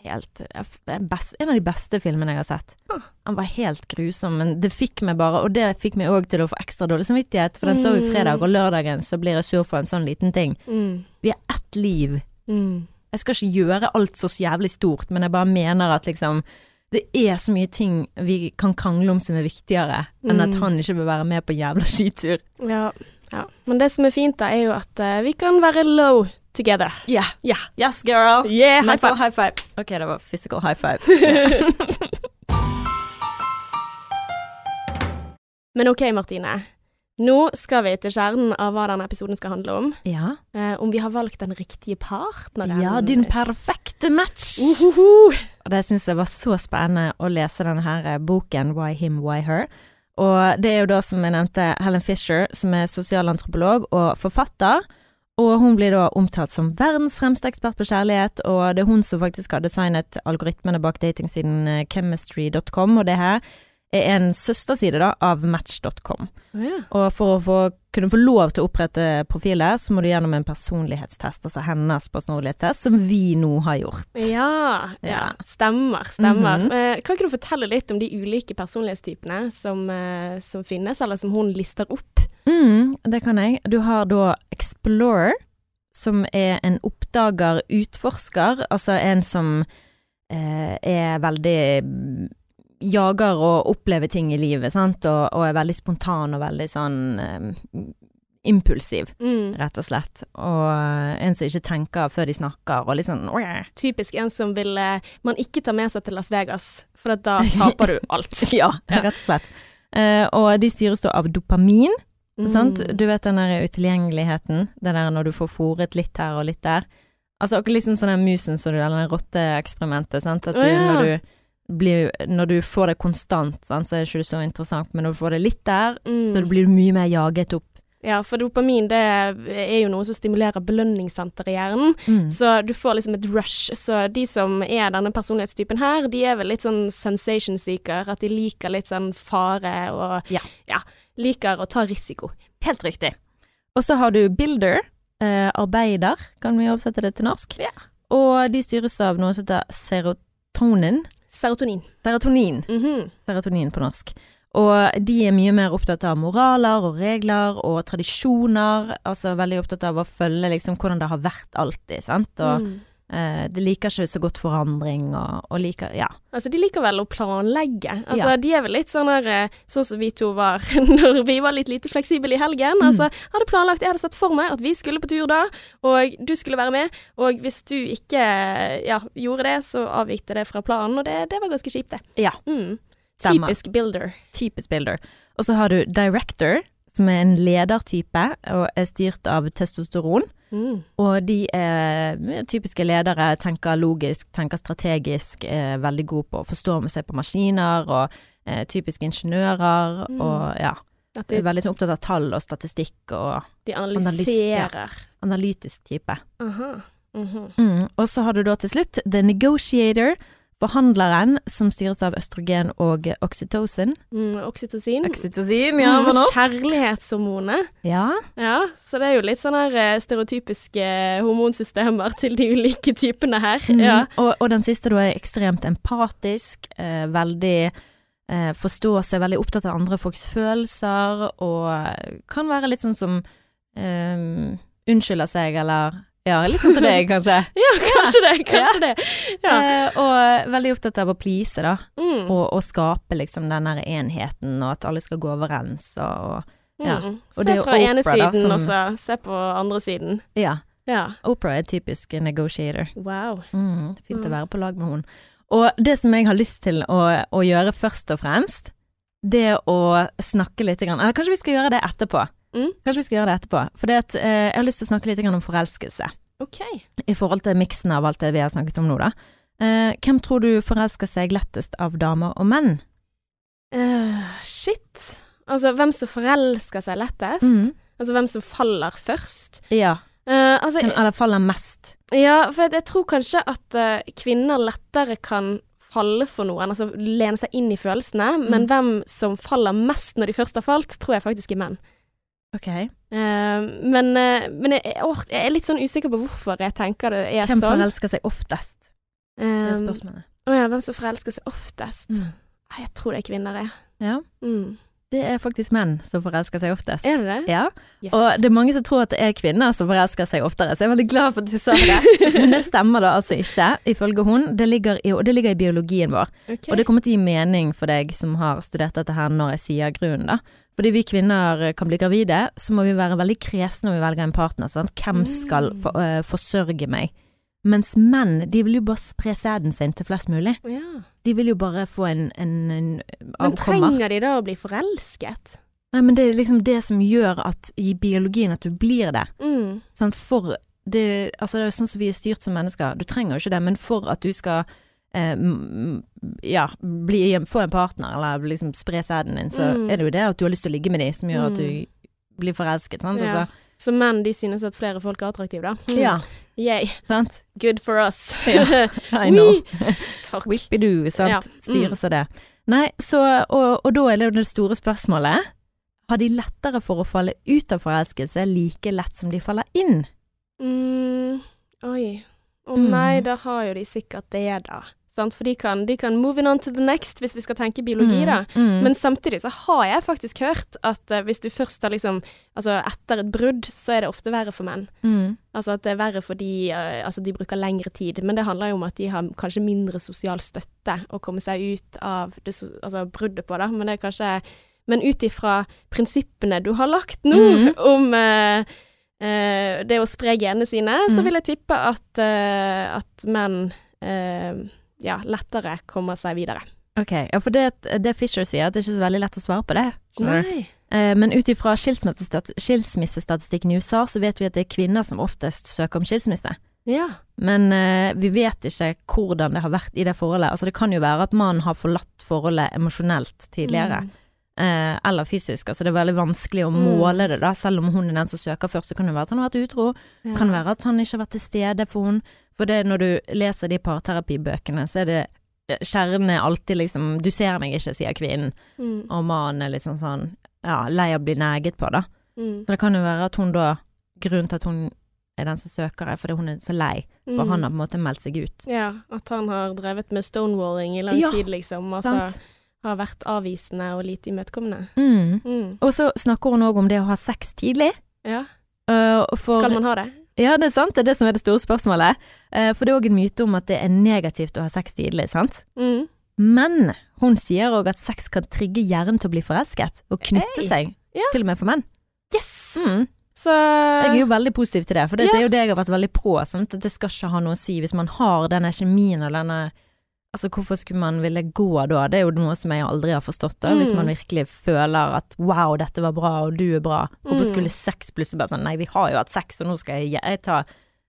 Speaker 2: Helt, det er en best, en av de beste filmene jeg har sett.
Speaker 1: Ah.
Speaker 2: Han var helt grusom, men det fikk meg bare, og det fikk meg òg til å få ekstra dårlig samvittighet, for den så vi
Speaker 1: Mm.
Speaker 2: fredag, og lørdagen så blir jeg sur for en sånn liten ting.
Speaker 1: Mm.
Speaker 2: Vi har ett liv.
Speaker 1: Mm.
Speaker 2: Jeg skal ikke gjøre alt så jævlig stort, men jeg bare mener at liksom det er så mye ting vi kan krangle om som er viktigere enn at
Speaker 1: Mm.
Speaker 2: han ikke bør være med på jævla skitur.
Speaker 1: Ja. ja. Men det som er fint, da, er jo at eh, vi kan være low together.
Speaker 2: Yeah.
Speaker 1: Ja.
Speaker 2: Yes, girl!
Speaker 1: Yeah, high
Speaker 2: Mental
Speaker 1: five.
Speaker 2: high five. Ok, det var physical high five.
Speaker 1: Men OK, Martine. Nå skal vi til kjernen av hva denne episoden skal handle om.
Speaker 2: ja.
Speaker 1: Eh, om vi har valgt den riktige partneren.
Speaker 2: ja, din perfekte match!
Speaker 1: Uhuhu.
Speaker 2: Og det syns jeg var så spennende å lese denne her eh, boken Why Him, Why Her. Og det er jo da, som jeg nevnte, Helen Fisher, som er sosialantropolog og forfatter. Og hun blir da omtalt som verdens fremste ekspert på kjærlighet, og det er hun som faktisk har designet algoritmene bak datingsiden eh, chemistry.com, og det her er en søsterside da av match.com.
Speaker 1: Å ja.
Speaker 2: Og for å få, kunne få lov til å opprette profiler, så må du gjennom en personlighetstest, altså hennes personlighetstest, som vi nå har gjort.
Speaker 1: Ja, ja.
Speaker 2: Ja.
Speaker 1: Stemmer. stemmer.
Speaker 2: Mhm.
Speaker 1: Eh, kan ikke du fortelle litt om de ulike personlighetstypene som, eh, som finnes, eller som hun lister opp?
Speaker 2: Mm, det kan jeg. Du har da Explorer, som er en oppdager, utforsker, altså en som eh, er veldig mm, Jager og opplever ting i livet, sant, og, og er veldig spontan og veldig sånn eh, impulsiv,
Speaker 1: Mm.
Speaker 2: rett og slett. Og eh, en som ikke tenker før de snakker, og litt sånn «Åh».
Speaker 1: Typisk en som vil eh, man ikke tar med seg til Las Vegas, for at da taper du alt.
Speaker 2: Ja, rett og slett. Eh, og de styres da av dopamin.
Speaker 1: Mm.
Speaker 2: Sant? Du vet den der utilgjengeligheten, det der når du får fôret litt her og litt der. Altså akkurat liksom sånn den musen som du, eller det rotteeksperimentet, sant. At du,
Speaker 1: Å, ja.
Speaker 2: når, du blir, når du får det konstant, sant? så er det ikke så interessant, men når du får det litt der,
Speaker 1: Mm.
Speaker 2: så blir du mye mer jaget opp.
Speaker 1: Ja, for dopamin det er jo noe som stimulerer belønningssenteret i hjernen. Så du får liksom et rush. Så de som er denne personlighetstypen her, de er vel litt sånn sensation seeker. At de liker litt sånn fare og
Speaker 2: Ja.
Speaker 1: liker å ta risiko.
Speaker 2: Helt riktig. Og så har du builder, eh, arbeider, kan vi oversette det til norsk.
Speaker 1: Ja.
Speaker 2: Og de styres av noe som heter serotonin.
Speaker 1: Serotonin.
Speaker 2: Serotonin.
Speaker 1: Mhm.
Speaker 2: serotonin på norsk. Og de er mye mer opptatt av moraler og regler og tradisjoner. Altså veldig opptatt av å følge liksom hvordan det har vært alltid, sant. Og
Speaker 1: Mm.
Speaker 2: eh, de liker ikke så godt forandring og, og liker Ja.
Speaker 1: Altså, de liker vel å planlegge. Altså,
Speaker 2: Ja.
Speaker 1: De er vel litt sånn her, eh, sånn som vi to var når vi var litt lite fleksible i helgen.
Speaker 2: Mm.
Speaker 1: Altså, jeg hadde planlagt, jeg hadde sett for meg at vi skulle på tur da, og du skulle være med. Og hvis du ikke eh, ja, gjorde det, så avvik det fra planen, og det, det var ganske kjipt, det.
Speaker 2: Ja.
Speaker 1: Mm.
Speaker 2: Stemmer.
Speaker 1: Typisk builder.
Speaker 2: Typisk builder. Og så har du director, som er en ledertype og er styrt av testosteron.
Speaker 1: Mm.
Speaker 2: Og de er typiske ledere, tenker logisk, tenker strategisk, er veldig gode på å forstå med seg på maskiner, og eh, typiske ingeniører,
Speaker 1: Mm.
Speaker 2: og ja.
Speaker 1: At de,
Speaker 2: Jeg er veldig sånn opptatt av tall og statistikk og
Speaker 1: de
Speaker 2: analyse- ja.
Speaker 1: analyserer.
Speaker 2: analytisk type.
Speaker 1: Aha. Mhm.
Speaker 2: Mm, Og så har du da til slutt The Negotiator, forhandleren som styres av østrogen og oksytocin.
Speaker 1: Mm, oksytocin.
Speaker 2: Oksytocin,
Speaker 1: Mm, Kjærlighetshormonet.
Speaker 2: Ja,
Speaker 1: Ja, så det er jo litt sånn her eh, stereotypiske eh, hormonsystemer til de ulike typene her.
Speaker 2: Mm.
Speaker 1: Ja.
Speaker 2: Og, og den siste da er ekstremt empatisk, eh, veldig eh, forstår seg, veldig opptatt av andre folks følelser, og kan være litt sånn som eh, unnskylder seg, eller ja, litt sånn som deg, kanskje.
Speaker 1: ja, kanskje det. Kanskje det. Ja.
Speaker 2: Eh, og veldig opptatt av å please, da.
Speaker 1: Mm.
Speaker 2: og, og skape liksom den der enheten, og at alle skal gå overens, og, og ja.
Speaker 1: Mm.
Speaker 2: Og
Speaker 1: se
Speaker 2: det er jo
Speaker 1: fra ene
Speaker 2: Oprah, da,
Speaker 1: siden,
Speaker 2: som-
Speaker 1: og så se på andre siden.
Speaker 2: Ja.
Speaker 1: Ja.
Speaker 2: Opera er typisk negotiator.
Speaker 1: Wow.
Speaker 2: Mm, fint
Speaker 1: Mm.
Speaker 2: å være på lag med hun. Og det som jeg har lyst til å, å gjøre først og fremst, det å snakke litt grann, Eller kanskje vi skal gjøre det etterpå.
Speaker 1: Mm.
Speaker 2: Kanskje vi skal gjøre det etterpå. For det at, eh, jeg har lyst til å snakke litt grann om forelskelse.
Speaker 1: OK.
Speaker 2: I forhold til miksen av alt det vi har snakket om nå, da. Eh, hvem tror du forelsker seg lettest av damer og menn?
Speaker 1: Eh, shit. Altså, hvem som forelsker seg lettest?
Speaker 2: Mm.
Speaker 1: Altså, hvem som faller først?
Speaker 2: Ja.
Speaker 1: Eh, altså,
Speaker 2: Hvem eller faller mest?
Speaker 1: ja, for jeg, jeg tror kanskje at eh, kvinner lettere kan falle for noen, altså lene seg inn i følelsene, men
Speaker 2: Mm.
Speaker 1: hvem som faller mest når de først har falt, tror jeg faktisk er menn.
Speaker 2: Ok.
Speaker 1: Eh, men eh, men jeg, jeg- åh, jeg er litt sånn usikker på hvorfor jeg tenker det er
Speaker 2: Hvem
Speaker 1: sånn.
Speaker 2: forelsker seg oftest? Det er
Speaker 1: Eh,
Speaker 2: spørsmålet.
Speaker 1: Å ja, hvem som forelsker seg oftest?
Speaker 2: Mm.
Speaker 1: Nei, Jeg tror det er kvinner, jeg.
Speaker 2: Ja.
Speaker 1: Mm.
Speaker 2: Det er faktisk menn som forelsker seg oftest.
Speaker 1: Er det det?
Speaker 2: Ja.
Speaker 1: Yes.
Speaker 2: Og det er mange som tror at det er kvinner som forelsker seg oftere, så jeg er veldig glad for at du sa det. Men det stemmer da altså ikke, ifølge hun. Det ligger i, og det ligger i biologien vår.
Speaker 1: Ok.
Speaker 2: Og det kommer til å gi mening for deg som har studert dette her, når jeg sier grunnen, da. Fordi vi kvinner kan bli gravide, så må vi være veldig kresne når vi velger en partner. Sant? Hvem skal
Speaker 1: Mm.
Speaker 2: for, øh, forsørge meg? Mens menn, de vil jo bare spre sæden sin til flest mulig.
Speaker 1: ja.
Speaker 2: De vil jo bare få en, en, en
Speaker 1: Men
Speaker 2: avkommer.
Speaker 1: trenger de da å bli forelsket?
Speaker 2: Nei, men det er liksom det som gjør at i biologien at du blir det.
Speaker 1: Mm.
Speaker 2: Sant? For det, altså det er jo sånn som vi er styrt som mennesker, du trenger jo ikke det, men for at du skal eh, m- m- ja, bli, få en partner, eller liksom spre sæden din, så
Speaker 1: Mm.
Speaker 2: er det jo det at du har lyst til å ligge med de, som gjør at du
Speaker 1: Mm.
Speaker 2: blir forelsket, sant?
Speaker 1: Ja.
Speaker 2: Altså,
Speaker 1: Så menn de synes at flere folk er attraktive, da. Mm.
Speaker 2: ja,
Speaker 1: Yay.
Speaker 2: sant?
Speaker 1: Good for us.
Speaker 2: Ja. I know.
Speaker 1: Ui. Fuck.
Speaker 2: Whippidoo, sant?
Speaker 1: Ja. Mm.
Speaker 2: Styre seg det. Nei, så, og, og da er det jo det store spørsmålet. Har de lettere for å falle ut av forelskelse like lett som de faller inn?
Speaker 1: Mm. Oi. Å
Speaker 2: Mm.
Speaker 1: nei, da har jo de sikkert det, da. Sant? For de kan, de kan moving on to the next, hvis vi skal tenke biologi, da.
Speaker 2: Mm.
Speaker 1: Men samtidig så har jeg faktisk hørt at eh, hvis du først har liksom Altså etter et brudd, så er det ofte verre for menn.
Speaker 2: Mm.
Speaker 1: Altså at det er verre fordi eh, altså de bruker lengre tid. Men det handler jo om at de har kanskje mindre sosial støtte å komme seg ut av det, so- altså bruddet på, da. Men det er kanskje Men ut ifra prinsippene du har lagt nå
Speaker 2: Mhm.
Speaker 1: om eh, eh, det å spre genene sine, så
Speaker 2: Mhm.
Speaker 1: vil jeg tippe at, eh, at menn eh, ja, lettere kommer seg videre.
Speaker 2: Ok, ja, for det, det Fisher sier, at det er ikke så veldig lett å svare på det. Skjønner du?
Speaker 1: Nei.
Speaker 2: Eh, Men ut ifra skilsmissestat- skilsmissestatistikken i USA, så vet vi at det er kvinner som oftest søker om skilsmisse.
Speaker 1: Ja.
Speaker 2: Men eh, vi vet ikke hvordan det har vært i det forholdet. Altså, det kan jo være at mannen har forlatt forholdet emosjonelt tidligere,
Speaker 1: Mm.
Speaker 2: eh, eller fysisk. Altså, det er veldig vanskelig å
Speaker 1: Mm.
Speaker 2: måle det, da. Selv om hun er den som søker først, så kan det være at han har vært utro.
Speaker 1: Mm. Ja.
Speaker 2: Kan være at han ikke har vært til stede for hun. For det, når du leser de parterapibøkene, så er det eh, Kjernen er alltid liksom 'du ser meg ikke', sier kvinnen.
Speaker 1: Mm.
Speaker 2: Og mannen er liksom sånn ja, lei av å bli neget på, da.
Speaker 1: Mm.
Speaker 2: Så det kan jo være at hun da Grunnen til at hun er den som søker, er fordi hun er så lei,
Speaker 1: Mm.
Speaker 2: for han har på en måte meldt seg ut.
Speaker 1: Ja, at han har drevet med stonewalling i lang
Speaker 2: Ja,
Speaker 1: tid, liksom. Altså
Speaker 2: Sant?
Speaker 1: har vært avvisende og lite imøtekommende.
Speaker 2: Mm.
Speaker 1: Mm.
Speaker 2: Og så snakker hun òg om det å ha sex tidlig.
Speaker 1: Ja.
Speaker 2: øh, for,
Speaker 1: Skal man ha det?
Speaker 2: Ja, det er sant, det er det som er det store spørsmålet. Eh, for det er òg en myte om at det er negativt å ha sex tidlig, sant?
Speaker 1: Mm.
Speaker 2: Men hun sier òg at sex kan trigge hjernen til å bli forelsket, og knytte
Speaker 1: Hey.
Speaker 2: seg.
Speaker 1: Ja.
Speaker 2: Til og med for menn.
Speaker 1: Yes!
Speaker 2: Mm.
Speaker 1: Så
Speaker 2: Jeg er jo veldig positiv til det, for det,
Speaker 1: Ja.
Speaker 2: det er jo det jeg har vært veldig på. Sant? At det skal ikke ha noe å si hvis man har denne kjemien eller denne Altså, hvorfor skulle man ville gå da? Det er jo noe som jeg aldri har forstått, da. Hvis
Speaker 1: Mm.
Speaker 2: man virkelig føler at wow, dette var bra, og du er bra. Hvorfor
Speaker 1: Mm.
Speaker 2: skulle sex plutselig bare sånn nei, vi har jo hatt sex, og nå skal jeg, jeg ta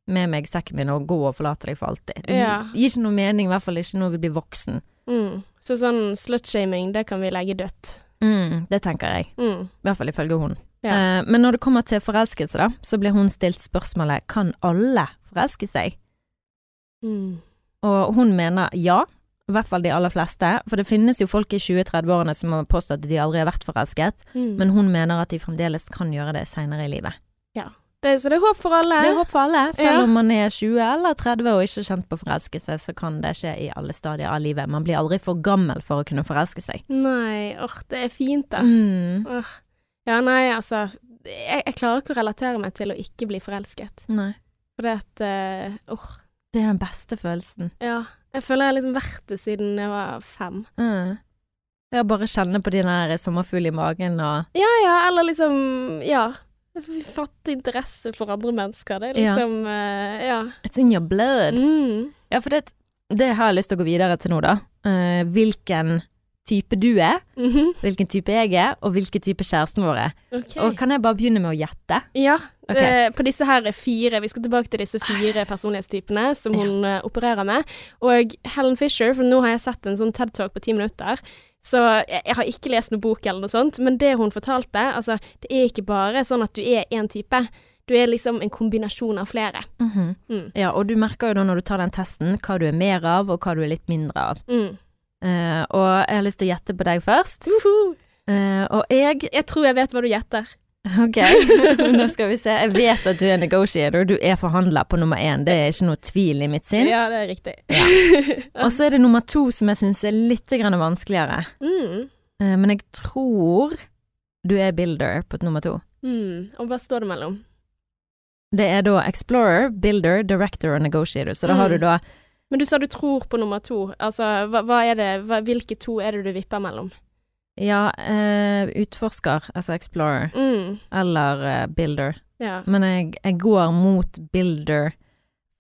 Speaker 2: med meg sekken min og gå og forlate deg for alltid. Det
Speaker 1: Ja.
Speaker 2: gir ikke noe mening, i hvert fall ikke når vi blir voksen.
Speaker 1: mm. Så sånn slutshaming, det kan vi legge dødt.
Speaker 2: Det tenker jeg.
Speaker 1: Mm.
Speaker 2: I hvert fall ifølge hun.
Speaker 1: Ja.
Speaker 2: Eh, men når det kommer til forelskelse, da, så ble hun stilt spørsmålet kan alle forelske seg?
Speaker 1: Mm.
Speaker 2: Og hun mener ja, i hvert fall de aller fleste. For det finnes jo folk i 20-30-årene som har påstått at de aldri har vært forelsket,
Speaker 1: Mm.
Speaker 2: men hun mener at de fremdeles kan gjøre det seinere i livet.
Speaker 1: det, så det er håp for alle.
Speaker 2: Det er håp for alle. Selv
Speaker 1: Ja.
Speaker 2: om man er 20 eller 30 og ikke kjent på forelskelse, så kan det skje i alle stadier av livet. Man blir aldri for gammel for å kunne forelske seg.
Speaker 1: Nei, åh, det er fint, da.
Speaker 2: Mm.
Speaker 1: Åh. Ja, nei, altså jeg, jeg klarer ikke å relatere meg til å ikke bli forelsket.
Speaker 2: Nei.
Speaker 1: Fordi at eh, Åh.
Speaker 2: Det er den beste følelsen.
Speaker 1: Ja. Jeg føler jeg har liksom vært det siden jeg var fem.
Speaker 2: Mm. Ja, bare kjenne på de der sommerfugl i magen og
Speaker 1: Ja, ja, eller liksom Ja. Fatte interesse for andre mennesker. Det er
Speaker 2: Ja.
Speaker 1: liksom eh, Ja.
Speaker 2: It's in your blood.
Speaker 1: Mm.
Speaker 2: Ja, for det, det har jeg lyst til å gå videre til nå, da. Eh, hvilken type du er,
Speaker 1: Mhm.
Speaker 2: hvilken type jeg er, og hvilken type kjæresten vår er.
Speaker 1: OK.
Speaker 2: Og kan jeg bare begynne med å gjette?
Speaker 1: ja.
Speaker 2: Ok.
Speaker 1: eh, på disse her er fire Vi skal tilbake til disse fire personlighetstypene som hun eh, opererer med. Og Helen Fisher, for nå har jeg sett en sånn TED Talk på ti minutter. Så jeg, jeg har ikke lest noen bok eller noe sånt, men det hun fortalte Altså, det er ikke bare sånn at du er én type. Du er liksom en kombinasjon av flere. Mm.
Speaker 2: Mhm. Ja, og du merker jo da når du tar den testen, hva du er mer av, og hva du er litt mindre av.
Speaker 1: Mm.
Speaker 2: Eh, og jeg har lyst til å gjette på deg først.
Speaker 1: Uhu.
Speaker 2: Eh, og jeg
Speaker 1: Jeg tror jeg vet hva du gjetter.
Speaker 2: Ok, nå skal vi se. Jeg vet at du er negotiator, du er forhandler på nummer én. Det er ikke noe tvil i mitt sinn.
Speaker 1: Ja, det er riktig.
Speaker 2: Og så er det nummer to som jeg syns er litt grann vanskeligere.
Speaker 1: Mm.
Speaker 2: Eh, Men jeg tror du er builder på nummer to.
Speaker 1: Mm. Og hva står det mellom?
Speaker 2: Det er da explorer, builder, director og negotiator. Så da har du da
Speaker 1: Men du sa du tror på nummer to. Altså, hva, hva er det, hva, hvilke to er det du vipper mellom?
Speaker 2: ja, eh, utforsker, altså explorer,
Speaker 1: Mm.
Speaker 2: eller eh, builder.
Speaker 1: Ja.
Speaker 2: Men jeg, jeg går mot builder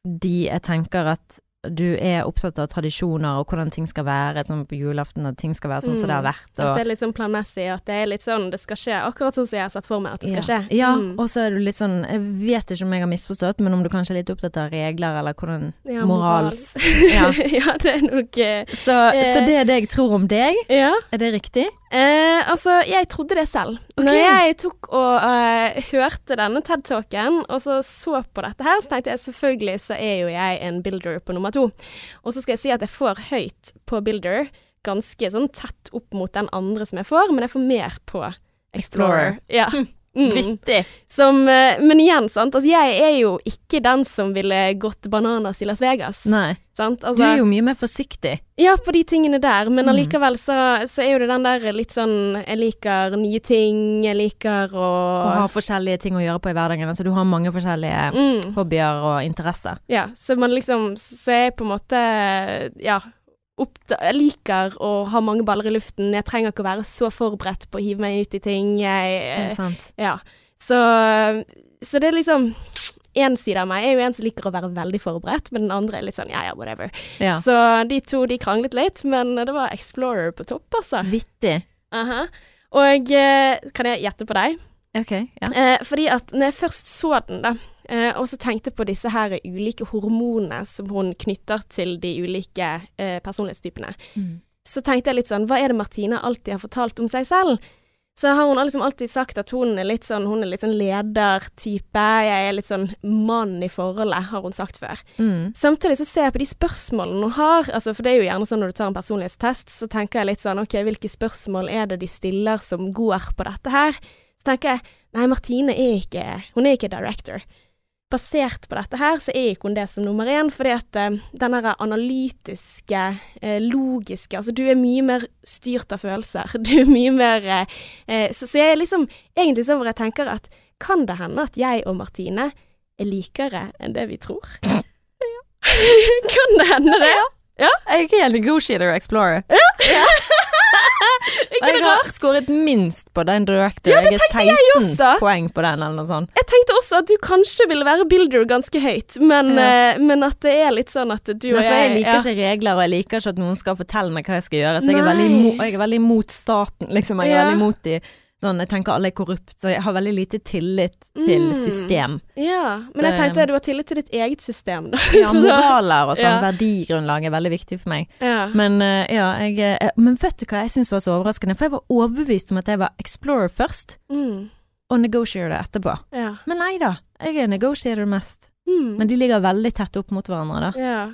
Speaker 2: de jeg tenker at du er opptatt av tradisjoner og hvordan ting skal være, sånn på julaften at ting skal være sånn som det har vært.
Speaker 1: At det
Speaker 2: Og,
Speaker 1: er litt sånn planmessig, at det er litt sånn det skal skje. Akkurat sånn som jeg har sett for meg at det skal
Speaker 2: ja.
Speaker 1: skje.
Speaker 2: Ja,
Speaker 1: Mm.
Speaker 2: og så er du litt sånn Jeg vet ikke om jeg har misforstått, men om du kanskje er litt opptatt av regler, eller hvordan
Speaker 1: Ja,
Speaker 2: morals.
Speaker 1: Ja.
Speaker 2: Ja.
Speaker 1: det er nok eh,
Speaker 2: Så, så det er det jeg tror om deg.
Speaker 1: Ja.
Speaker 2: Er det riktig?
Speaker 1: Eh, altså, jeg trodde det selv. Når jeg tok og eh, hørte denne TED-talken, og så så på dette her, så tenkte jeg selvfølgelig så er jo jeg en builder på nummer to. Og så skal jeg si at jeg får høyt på builder, ganske sånn tett opp mot den andre som jeg får, men jeg får mer på explorer.
Speaker 2: Explorer.
Speaker 1: Ja. Mm.
Speaker 2: Viktig.
Speaker 1: Som, eh, men igjen, sant. Altså, jeg er jo ikke den som ville gått bananas i Las Vegas.
Speaker 2: Nei.
Speaker 1: Sant? Altså,
Speaker 2: Du er jo Mm. mye mer forsiktig.
Speaker 1: ja, på de tingene der, men allikevel så, så er jo det den der litt sånn Jeg liker nye ting, jeg liker å
Speaker 2: Og har forskjellige ting å gjøre på i hverdagen. Altså du har mange forskjellige
Speaker 1: mm,
Speaker 2: hobbyer og interesser.
Speaker 1: Ja, så man liksom Så er jeg på en måte Ja. Oppda jeg liker å ha mange baller i luften. Jeg trenger ikke å være så forberedt på å hive meg ut i ting.
Speaker 2: Er
Speaker 1: Jeg, eh,
Speaker 2: det sant?
Speaker 1: ja. Så, eh, så det er liksom En side av meg er jo en som liker å være veldig forberedt, men den andre er litt sånn ja, ja, whatever.
Speaker 2: Ja.
Speaker 1: Så de to de kranglet litt, men det var Explorer på topp, altså.
Speaker 2: Vittig.
Speaker 1: Aha. Og eh, kan jeg gjette på deg?
Speaker 2: Ok, ja.
Speaker 1: Eh, fordi at når jeg først så den, da, eh, og så tenkte på disse her ulike hormonene som hun knytter til de ulike eh, personlighetstypene,
Speaker 2: Mm.
Speaker 1: så tenkte jeg litt sånn Hva er det Martine alltid har fortalt om seg selv? Så har hun liksom alltid sagt at hun er litt sånn, hun er litt sånn ledertype, jeg er litt sånn mann i forholdet, har hun sagt før.
Speaker 2: Mm.
Speaker 1: Samtidig så ser jeg på de spørsmålene hun har, altså, for det er jo gjerne sånn når du tar en personlighetstest, så tenker jeg litt sånn ok, hvilke spørsmål er det de stiller som går på dette her? Så tenker jeg nei, Martine er ikke, hun er ikke director. Basert på dette her, så er ikke hun det som nummer én, fordi at eh, den her analytiske, eh, logiske Altså, du er mye mer styrt av følelser. Du er mye mer eh, eh, så, så jeg er liksom egentlig sånn hvor jeg tenker at kan det hende at jeg og Martine er likere enn det vi tror? Kan det hende det?
Speaker 2: Jeg er en negotiator explorer. Og
Speaker 1: Ikke
Speaker 2: jeg
Speaker 1: det
Speaker 2: har
Speaker 1: rart?
Speaker 2: skåret minst på den director. jeg er 16
Speaker 1: også.
Speaker 2: poeng på den, eller noe sånt.
Speaker 1: Jeg tenkte også at du kanskje ville være builder ganske høyt, men,
Speaker 2: Ja.
Speaker 1: eh, men at det er litt sånn at du
Speaker 2: Nei,
Speaker 1: og
Speaker 2: for jeg liker
Speaker 1: ja.
Speaker 2: ikke regler, og jeg liker ikke at noen skal fortelle meg hva jeg skal gjøre. Så jeg er
Speaker 1: Nei.
Speaker 2: veldig, imo- og jeg er veldig imot staten, liksom. Jeg er
Speaker 1: Ja.
Speaker 2: veldig imot de Sånn, jeg tenker alle er korrupt, så jeg har veldig lite tillit til
Speaker 1: Mm.
Speaker 2: system.
Speaker 1: Ja, men jeg
Speaker 2: Det-
Speaker 1: tenkte du har tillit til ditt eget system, da.
Speaker 2: Ja,
Speaker 1: Så-
Speaker 2: moraler og
Speaker 1: Ja.
Speaker 2: sånn, verdigrunnlag er veldig viktig for meg.
Speaker 1: ja.
Speaker 2: Men eh, ja, jeg, eh, men vet du hva jeg syns var så overraskende? For jeg var overbevist om at jeg var explorer først,
Speaker 1: Mm,
Speaker 2: og negotiator etterpå.
Speaker 1: ja.
Speaker 2: Men nei da, jeg er negotiator mest.
Speaker 1: Mm,
Speaker 2: Men de ligger veldig tett opp mot hverandre, da.
Speaker 1: ja.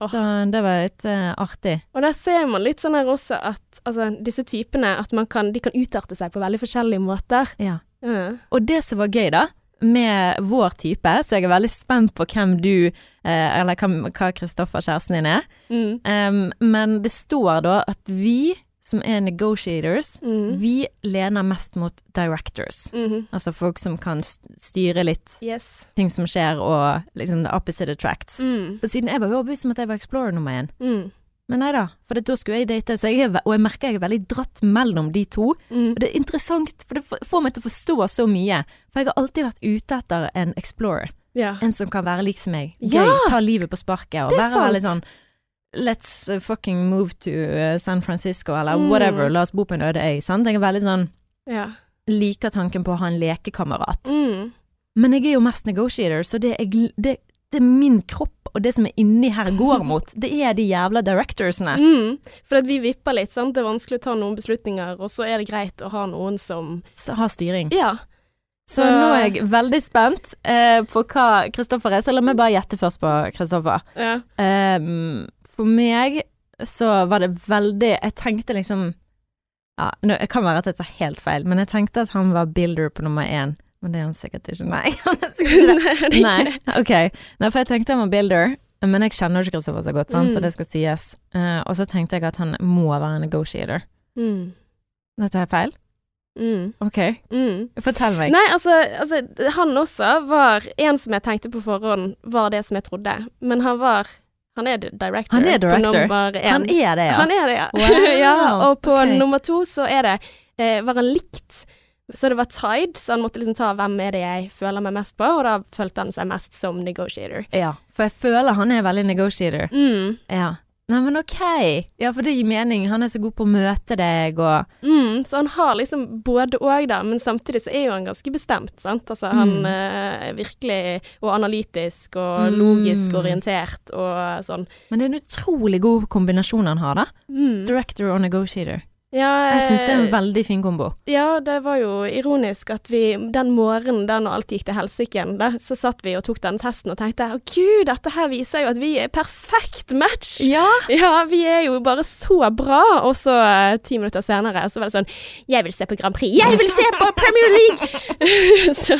Speaker 2: Så det var litt eh, artig.
Speaker 1: Og der ser man litt sånn her også at altså, disse typene at man kan, de kan utarte seg på veldig forskjellige måter.
Speaker 2: Ja.
Speaker 1: Ja.
Speaker 2: Og det som var gøy, da, med vår type, så jeg er veldig spent på hvem du eh, Eller hvem, hva Kristoffer, kjæresten din, er.
Speaker 1: Mm,
Speaker 2: Em, men det står da at vi som er negotiators,
Speaker 1: mm,
Speaker 2: vi lener mest mot directors.
Speaker 1: mhm.
Speaker 2: Altså folk som kan st- styre litt
Speaker 1: Yes.
Speaker 2: ting som skjer, og liksom the opposite attracts.
Speaker 1: Mm,
Speaker 2: Og siden jeg var jo overbevist om at jeg var explorer nummer én.
Speaker 1: mm,
Speaker 2: Men nei da, for da skulle jeg date, så jeg er, ve- og jeg merker jeg er veldig dratt mellom de to.
Speaker 1: mm.
Speaker 2: Og det er interessant, for det f- får meg til å forstå så mye. For jeg har alltid vært ute etter en explorer.
Speaker 1: Ja.
Speaker 2: En som kan være lik som meg. Gøy,
Speaker 1: Ja!
Speaker 2: ta livet på sparket, og
Speaker 1: Det er
Speaker 2: være veldig sånn
Speaker 1: sant.
Speaker 2: Let's uh, fucking move to uh, San Francisco, eller
Speaker 1: Mm.
Speaker 2: whatever. La oss bo på en øde øy. Sant? Jeg er veldig sånn
Speaker 1: Ja.
Speaker 2: Liker tanken på å ha en lekekamerat.
Speaker 1: Mm.
Speaker 2: Men jeg er jo mest negotiator, så det er, gl- det, det er min kropp og det som er inni her går mot. Det er de jævla directorsene.
Speaker 1: Mm, for at vi vipper litt, sant? det er vanskelig å ta noen beslutninger, og så er det greit å ha noen som
Speaker 2: som Har styring.
Speaker 1: Ja.
Speaker 2: Så nå er jeg veldig spent eh, på hva Kristoffer er. Så la meg bare gjette først på Eh, Kristoffer.
Speaker 1: ja.
Speaker 2: Ehm, for meg så var det veldig Jeg tenkte liksom Ja, nå, det kan være at jeg tar helt feil, men jeg tenkte at han var builder på nummer én. Men det er han sikkert ikke. Nei, han er sikkert ikke
Speaker 1: Nei, det er
Speaker 2: det.
Speaker 1: ikke
Speaker 2: Nei,
Speaker 1: det.
Speaker 2: ok. Nei, for jeg tenkte han var builder, men jeg kjenner jo ikke Kristoffer så godt, sant? så
Speaker 1: Mm.
Speaker 2: det skal sies. Eh, og så tenkte jeg at han må være en negotiator.
Speaker 1: Mm.
Speaker 2: Nå tar jeg feil?
Speaker 1: Mm.
Speaker 2: Ok,
Speaker 1: Mm.
Speaker 2: fortell meg.
Speaker 1: Nei, altså, altså Han også var En som jeg tenkte på forhånd, var det som jeg trodde. Men han var Han er director.
Speaker 2: Han er director.
Speaker 1: På nummer én.
Speaker 2: Han er det, ja.
Speaker 1: Han er det, ja.
Speaker 2: Wow,
Speaker 1: ja og på
Speaker 2: ok.
Speaker 1: nummer to så er det eh, Var han likt? Så det var tied, så han måtte liksom ta hvem er det jeg føler meg mest på, og da følte han seg mest som negotiator.
Speaker 2: Ja, for jeg føler han er veldig negotiator.
Speaker 1: Mm.
Speaker 2: Ja. Nei, men ok. Ja, for det gir mening. Han er så god på å møte deg og
Speaker 1: Mm, så han har liksom både òg, da, men samtidig så er jo han ganske bestemt, sant. Altså han
Speaker 2: Mm.
Speaker 1: eh, er virkelig Og analytisk og
Speaker 2: Mm.
Speaker 1: logisk orientert og sånn.
Speaker 2: Men det er en utrolig god kombinasjon han har, da.
Speaker 1: Mm.
Speaker 2: Director og negotiator.
Speaker 1: Ja,
Speaker 2: Jeg syns det er en
Speaker 1: eh,
Speaker 2: veldig fin kombo.
Speaker 1: Ja, det var jo ironisk at vi den morgenen da når alt gikk til helsike, da, så satt vi og tok den testen og tenkte å gud, dette her viser jo at vi er perfekt match.
Speaker 2: Ja!
Speaker 1: Ja, vi er jo bare så bra. Og så eh, ti minutter senere så var det sånn Jeg vil se på Grand Prix. Jeg vil se på Premier League! så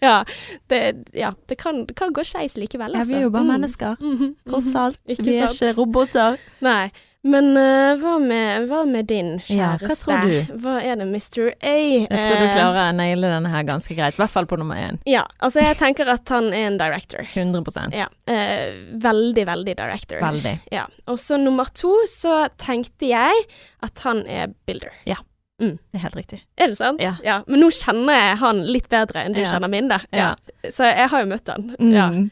Speaker 1: ja. Det, ja, det, kan, det kan gå skeis likevel,
Speaker 2: ja
Speaker 1: altså.
Speaker 2: vi er jo bare
Speaker 1: Mm.
Speaker 2: mennesker,
Speaker 1: Mhm,
Speaker 2: tross
Speaker 1: mhm.
Speaker 2: alt.
Speaker 1: Ikke
Speaker 2: Vi er
Speaker 1: sant?
Speaker 2: ikke roboter.
Speaker 1: Nei. Men eh, hva, med, hva med din kjæreste?
Speaker 2: Ja, hva tror du?
Speaker 1: Hva er det Mr. A
Speaker 2: Jeg tror
Speaker 1: eh,
Speaker 2: du klarer å naile denne her ganske greit. I hvert fall på nummer én.
Speaker 1: Ja, altså jeg tenker at han er en director.
Speaker 2: 100
Speaker 1: Ja, eh, veldig, veldig director.
Speaker 2: Veldig.
Speaker 1: Ja. Og så nummer to, så tenkte jeg at han er builder.
Speaker 2: Det er helt riktig.
Speaker 1: Er det sant?
Speaker 2: Ja.
Speaker 1: Men nå kjenner jeg han litt bedre enn du
Speaker 2: Ja.
Speaker 1: kjenner min, da.
Speaker 2: Ja.
Speaker 1: Så jeg har jo møtt han. Ja.
Speaker 2: Mm.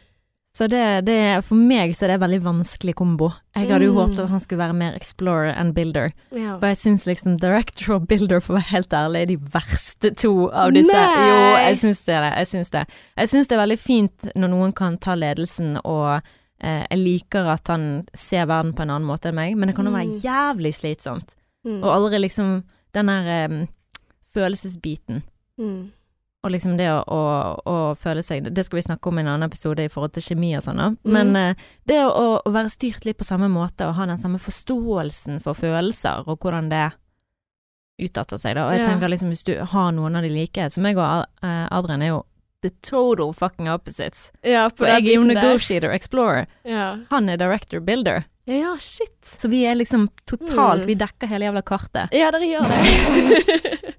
Speaker 2: Så det, det er- For meg så er det en veldig vanskelig kombo. Jeg hadde jo
Speaker 1: Mm.
Speaker 2: håpet at han skulle være mer explorer enn builder.
Speaker 1: Ja.
Speaker 2: For jeg syns liksom director og builder, for å være helt ærlig, er de verste to av disse.
Speaker 1: Nei.
Speaker 2: Jo, jeg syns det. er det, Jeg syns det. Jeg syns det er veldig fint når noen kan ta ledelsen og eh, jeg liker at han ser verden på en annen måte enn meg, men det kan jo være
Speaker 1: Mm.
Speaker 2: jævlig slitsomt.
Speaker 1: Mm.
Speaker 2: Og aldri liksom den der eh, følelsesbiten.
Speaker 1: Mm.
Speaker 2: Og liksom det å, å, å føle seg Det skal vi snakke om i en annen episode i forhold til kjemi og sånn. da. Men
Speaker 1: Mm.
Speaker 2: eh, det å, å være styrt litt på samme måte og ha den samme forståelsen for følelser og hvordan det utarter seg, da. Og jeg
Speaker 1: Ja.
Speaker 2: tenker liksom hvis du har noen av de like, som meg og Ad- eh, Adrian er jo the total fucking opposites.
Speaker 1: ja, på
Speaker 2: For jeg
Speaker 1: den
Speaker 2: er jo
Speaker 1: biten der.
Speaker 2: negotiator, explorer.
Speaker 1: Ja.
Speaker 2: Han er director, builder.
Speaker 1: Ja, ja, shit.
Speaker 2: Så vi er liksom totalt
Speaker 1: Mm.
Speaker 2: Vi dekker hele jævla kartet.
Speaker 1: Ja, dere gjør det.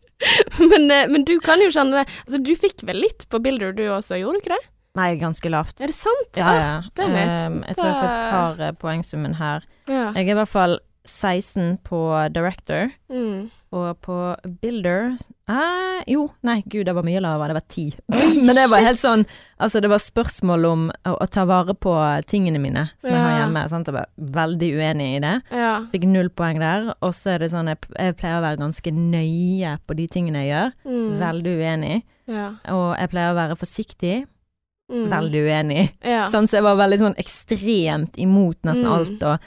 Speaker 1: men, eh, men du kan jo kjenne Altså, du fikk vel litt på builder du også, gjorde du ikke det?
Speaker 2: Nei, ganske lavt.
Speaker 1: Er det sant?
Speaker 2: Ja, ja.
Speaker 1: damn it.
Speaker 2: Um, jeg tror jeg
Speaker 1: Da-
Speaker 2: faktisk har eh, poengsummen her.
Speaker 1: Ah, ja.
Speaker 2: Jeg er i hvert fall 16 på director,
Speaker 1: Mm.
Speaker 2: og på builder eh, Jo, nei, gud, det var mye lavere. Det var 10. Men det var helt sånn Altså, det var spørsmål om å, å ta vare på tingene mine som jeg har
Speaker 1: Ja.
Speaker 2: hjemme. Sant? Jeg var veldig uenig i det.
Speaker 1: Ja.
Speaker 2: Fikk null poeng der. Og så er det sånn jeg, jeg pleier å være ganske nøye på de tingene jeg gjør.
Speaker 1: Mm.
Speaker 2: Veldig uenig.
Speaker 1: Ja.
Speaker 2: Og jeg pleier å være forsiktig.
Speaker 1: Mm.
Speaker 2: Veldig uenig.
Speaker 1: Ja.
Speaker 2: Sånn, så jeg var veldig sånn ekstremt imot nesten
Speaker 1: Mm.
Speaker 2: alt. Og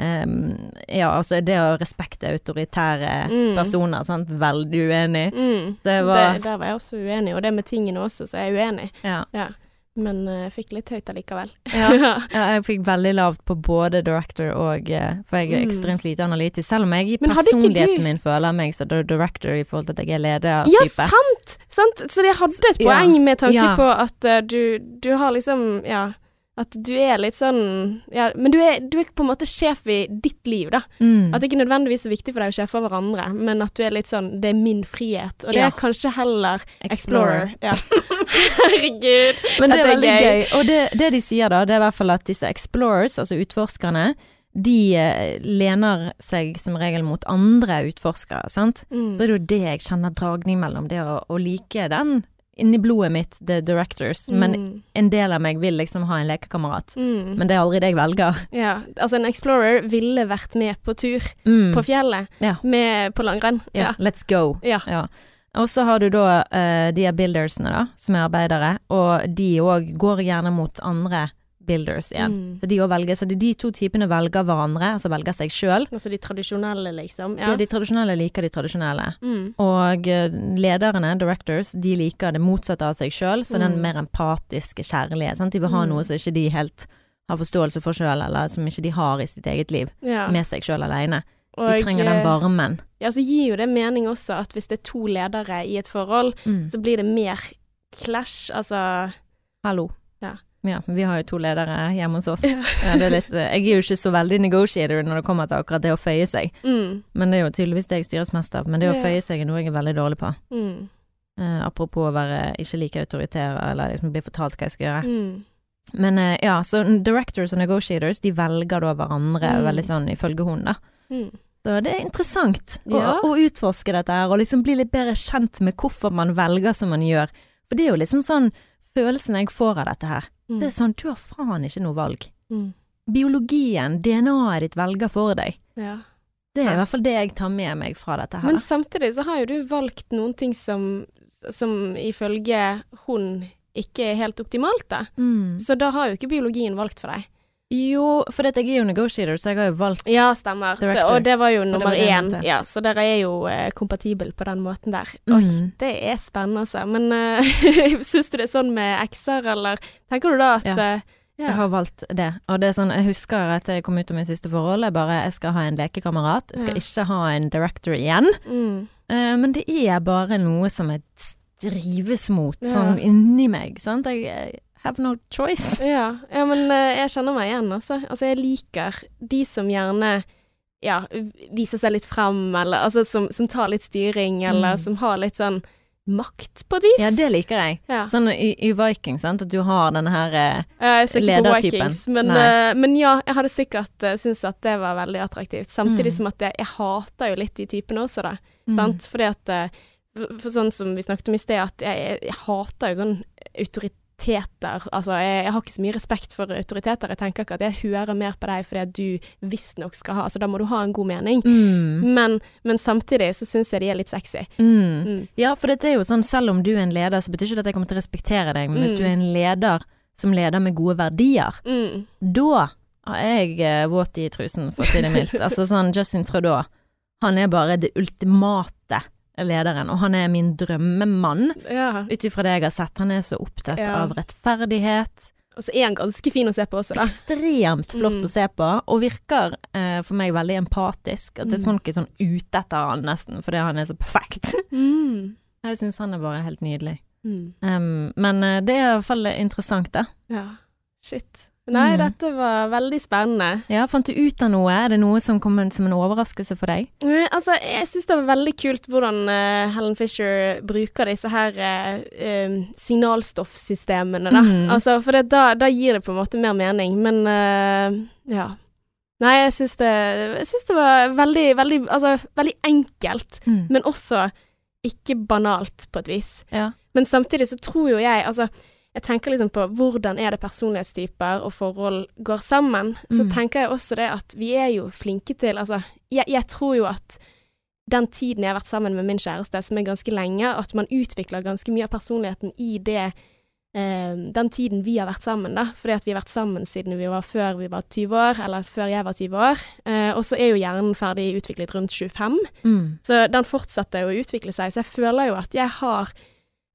Speaker 2: ehm, ja, altså det å respekte autoritære
Speaker 1: Mm.
Speaker 2: personer, sant. Veldig uenig.
Speaker 1: Mm.
Speaker 2: Så jeg var-
Speaker 1: det, der var jeg også uenig, og det med tingene også, så jeg er uenig.
Speaker 2: Ja.
Speaker 1: Men eh, jeg fikk litt høyt allikevel.
Speaker 2: ja, jeg fikk veldig lavt på både director og eh, For jeg er
Speaker 1: Mm.
Speaker 2: ekstremt lite analytisk. Selv om jeg i
Speaker 1: Men hadde ikke du-
Speaker 2: personligheten min føler meg som director i forhold til at jeg er leder.
Speaker 1: Ja,
Speaker 2: type.
Speaker 1: sant! sant! Så jeg hadde et
Speaker 2: Ja.
Speaker 1: poeng med tanke
Speaker 2: Ja.
Speaker 1: på at eh, du, du har liksom Ja. At du er litt sånn ja, Men du er, du er på en måte sjef i ditt liv, da.
Speaker 2: Mm.
Speaker 1: At det ikke nødvendigvis er viktig for deg å sjefe over hverandre, men at du er litt sånn Det er min frihet. Og det
Speaker 2: Ja.
Speaker 1: er kanskje heller
Speaker 2: Explorer.
Speaker 1: Explorer. Ja. Herregud.
Speaker 2: Men det
Speaker 1: Dette
Speaker 2: er
Speaker 1: er
Speaker 2: veldig
Speaker 1: gøy.
Speaker 2: gøy. Og det, det de sier da, det er i hvert fall at disse explorers, altså utforskerne, de eh, lener seg som regel mot andre utforskere, sant. Så
Speaker 1: Mm.
Speaker 2: er det jo det jeg kjenner dragning mellom, det å, å like den inni blodet mitt, the directors, men
Speaker 1: Mm.
Speaker 2: en del av meg vil liksom ha en lekekamerat.
Speaker 1: Mm.
Speaker 2: Men det er aldri det jeg velger.
Speaker 1: Ja, altså en Explorer ville vært med på tur på fjellet,
Speaker 2: Ja.
Speaker 1: med på langrenn.
Speaker 2: Mm. Ja,
Speaker 1: Ja.
Speaker 2: let's go.
Speaker 1: Ja.
Speaker 2: Ja. Og så har du da eh, de er buildersene, da, som er arbeidere, og de òg går gjerne mot andre builders igjen.
Speaker 1: Mm.
Speaker 2: Så de òg velger, så det er de to typene velger hverandre, altså velger seg sjøl.
Speaker 1: Altså de tradisjonelle, liksom.
Speaker 2: Ja.
Speaker 1: Ja.
Speaker 2: De tradisjonelle liker de tradisjonelle.
Speaker 1: Mm.
Speaker 2: Og eh, lederne, directors, de liker det motsatte av seg sjøl, så den
Speaker 1: Mm.
Speaker 2: mer empatiske kjærlighet. Sant? De vil ha
Speaker 1: Mm.
Speaker 2: noe som ikke de helt har forståelse for sjøl, eller som ikke de har i sitt eget liv,
Speaker 1: ja.
Speaker 2: med seg sjøl aleine. Vi trenger den
Speaker 1: eh,
Speaker 2: varmen.
Speaker 1: Ja, så gir jo det mening også at hvis det er to ledere i et forhold,
Speaker 2: Mm.
Speaker 1: så blir det mer clash, altså
Speaker 2: Hallo.
Speaker 1: Ja.
Speaker 2: vi har jo to ledere hjemme hos oss.
Speaker 1: Ja.
Speaker 2: Ja, det er litt, eh, jeg er jo ikke så veldig negotiator når det kommer til akkurat det å føye seg.
Speaker 1: mm,
Speaker 2: Men det er jo tydeligvis det jeg styres mest av. Men det å
Speaker 1: Ja.
Speaker 2: føye seg er noe jeg er veldig dårlig på.
Speaker 1: mm,
Speaker 2: Eh, apropos å være ikke like autoritær eller liksom bli fortalt hva jeg skal gjøre.
Speaker 1: mm,
Speaker 2: Men eh, ja, så directors og negotiators de velger da hverandre
Speaker 1: Mm.
Speaker 2: veldig sånn ifølge hun, da.
Speaker 1: mm.
Speaker 2: Så det er interessant å,
Speaker 1: Ja.
Speaker 2: å utforske dette her, og liksom bli litt bedre kjent med hvorfor man velger som man gjør. For det er jo liksom sånn følelsen jeg får av dette her.
Speaker 1: Mm.
Speaker 2: Det er sånn, du har faen ikke noe valg.
Speaker 1: mm,
Speaker 2: Biologien, DNA-et ditt velger for deg.
Speaker 1: ja.
Speaker 2: Det er
Speaker 1: Ja.
Speaker 2: i hvert fall det jeg tar med meg fra dette her.
Speaker 1: Men
Speaker 2: da.
Speaker 1: samtidig så har jo du valgt noen ting som, som ifølge hun ikke er helt optimalt, da.
Speaker 2: Mm.
Speaker 1: Så da har jo ikke biologien valgt for deg.
Speaker 2: Jo, for jeg er jo negotiator, så jeg har jo valgt
Speaker 1: Ja, stemmer. Så,
Speaker 2: Director.
Speaker 1: og det var jo nummer
Speaker 2: var det jeg
Speaker 1: én.
Speaker 2: mente.
Speaker 1: Ja, så dere er jo eh, kompatible på den måten der.
Speaker 2: Mm.
Speaker 1: Oi, det er spennende, altså. Men uh, syns du det er sånn med ekser, eller tenker du da at
Speaker 2: Ja.
Speaker 1: eh, ja.
Speaker 2: Jeg har valgt det. Og det er sånn, jeg husker at jeg kom ut av min siste forhold. Jeg bare jeg skal ha en lekekamerat. Jeg skal
Speaker 1: Ja.
Speaker 2: ikke ha en director igjen.
Speaker 1: Mm,
Speaker 2: Eh, men det er bare noe som jeg drives mot,
Speaker 1: Ja.
Speaker 2: sånn inni meg. Sant? Jeg eh, have no choice.
Speaker 1: ja. ja, men eh, jeg kjenner meg igjen, altså. Altså, jeg liker de som gjerne ja, v- viser seg litt frem, eller altså som, som tar litt styring, eller
Speaker 2: Mm.
Speaker 1: som har litt sånn makt, på et vis.
Speaker 2: Ja, det liker jeg.
Speaker 1: Ja.
Speaker 2: Sånn i, i Viking, sant, at du har denne her eh,
Speaker 1: Eh, Jeg ser ikke på
Speaker 2: Ledertypen.
Speaker 1: Vikings, men,
Speaker 2: Nei.
Speaker 1: eh, men ja, jeg hadde sikkert uh, syntes at det var veldig attraktivt. Samtidig
Speaker 2: Mm.
Speaker 1: som at jeg, jeg hater jo litt de typene også, da. Sant? Fordi at eh, for, for sånn som vi snakket om i sted, at jeg, jeg, jeg hater jo sånn autoriteter. Altså, jeg, jeg har ikke så mye respekt for autoriteter. Jeg tenker ikke at jeg hører mer på deg fordi at du visstnok skal ha Altså, da må du ha en god mening.
Speaker 2: Mm.
Speaker 1: Men, men samtidig så syns jeg de er litt sexy.
Speaker 2: Mm.
Speaker 1: Mm.
Speaker 2: Ja, for dette er jo sånn, selv om du er en leder, så betyr ikke det at jeg kommer til å respektere deg, men hvis
Speaker 1: Mm.
Speaker 2: du er en leder som leder med gode verdier,
Speaker 1: Mm.
Speaker 2: da er jeg eh, våt i trusen, for å si det mildt. altså sånn Justin Trudeau, han er bare det ultimate lederen, og han er min drømmemann,
Speaker 1: Ja.
Speaker 2: ut ifra det jeg har sett. Han er så opptatt
Speaker 1: Ja.
Speaker 2: av rettferdighet.
Speaker 1: Og så er han ganske fin å se på også, da.
Speaker 2: Ekstremt flott
Speaker 1: Mm.
Speaker 2: å se på, og virker eh, for meg veldig empatisk. At
Speaker 1: Mm.
Speaker 2: det er folk er sånn ute etter han nesten, fordi han er så perfekt.
Speaker 1: Mm.
Speaker 2: jeg syns han er bare helt nydelig.
Speaker 1: Mm.
Speaker 2: Um, men eh, det er i hvert fall interessant, da.
Speaker 1: Ja, shit. Nei,
Speaker 2: Mm.
Speaker 1: dette var veldig spennende.
Speaker 2: Ja, fant du ut av noe? Er det noe som kom en- som en overraskelse for deg?
Speaker 1: Eh, Altså, jeg syns det var veldig kult hvordan eh, Helen Fisher bruker disse her eh, em, signalstoffsystemene, da.
Speaker 2: Mm.
Speaker 1: Altså, for det, da, da gir det på en måte mer mening, men eh, ja. Nei, jeg syns det, jeg synes det var veldig, veldig, altså, veldig enkelt,
Speaker 2: Mm.
Speaker 1: men også ikke banalt, på et vis.
Speaker 2: Ja.
Speaker 1: Men samtidig så tror jo jeg Altså, jeg tenker liksom på hvordan er det personlighetstyper og forhold går sammen. Så
Speaker 2: Mm.
Speaker 1: tenker jeg også det at vi er jo flinke til Altså, jeg, jeg tror jo at den tiden jeg har vært sammen med min kjæreste, som er ganske lenge, at man utvikler ganske mye av personligheten i det eh, den tiden vi har vært sammen, da. Fordi at vi har vært sammen siden vi var før vi var 20 år, eller før jeg var 20 år. Eh, og så er jo hjernen ferdig utviklet rundt 25.
Speaker 2: Mm.
Speaker 1: Så den fortsetter å utvikle seg, så jeg føler jo at jeg har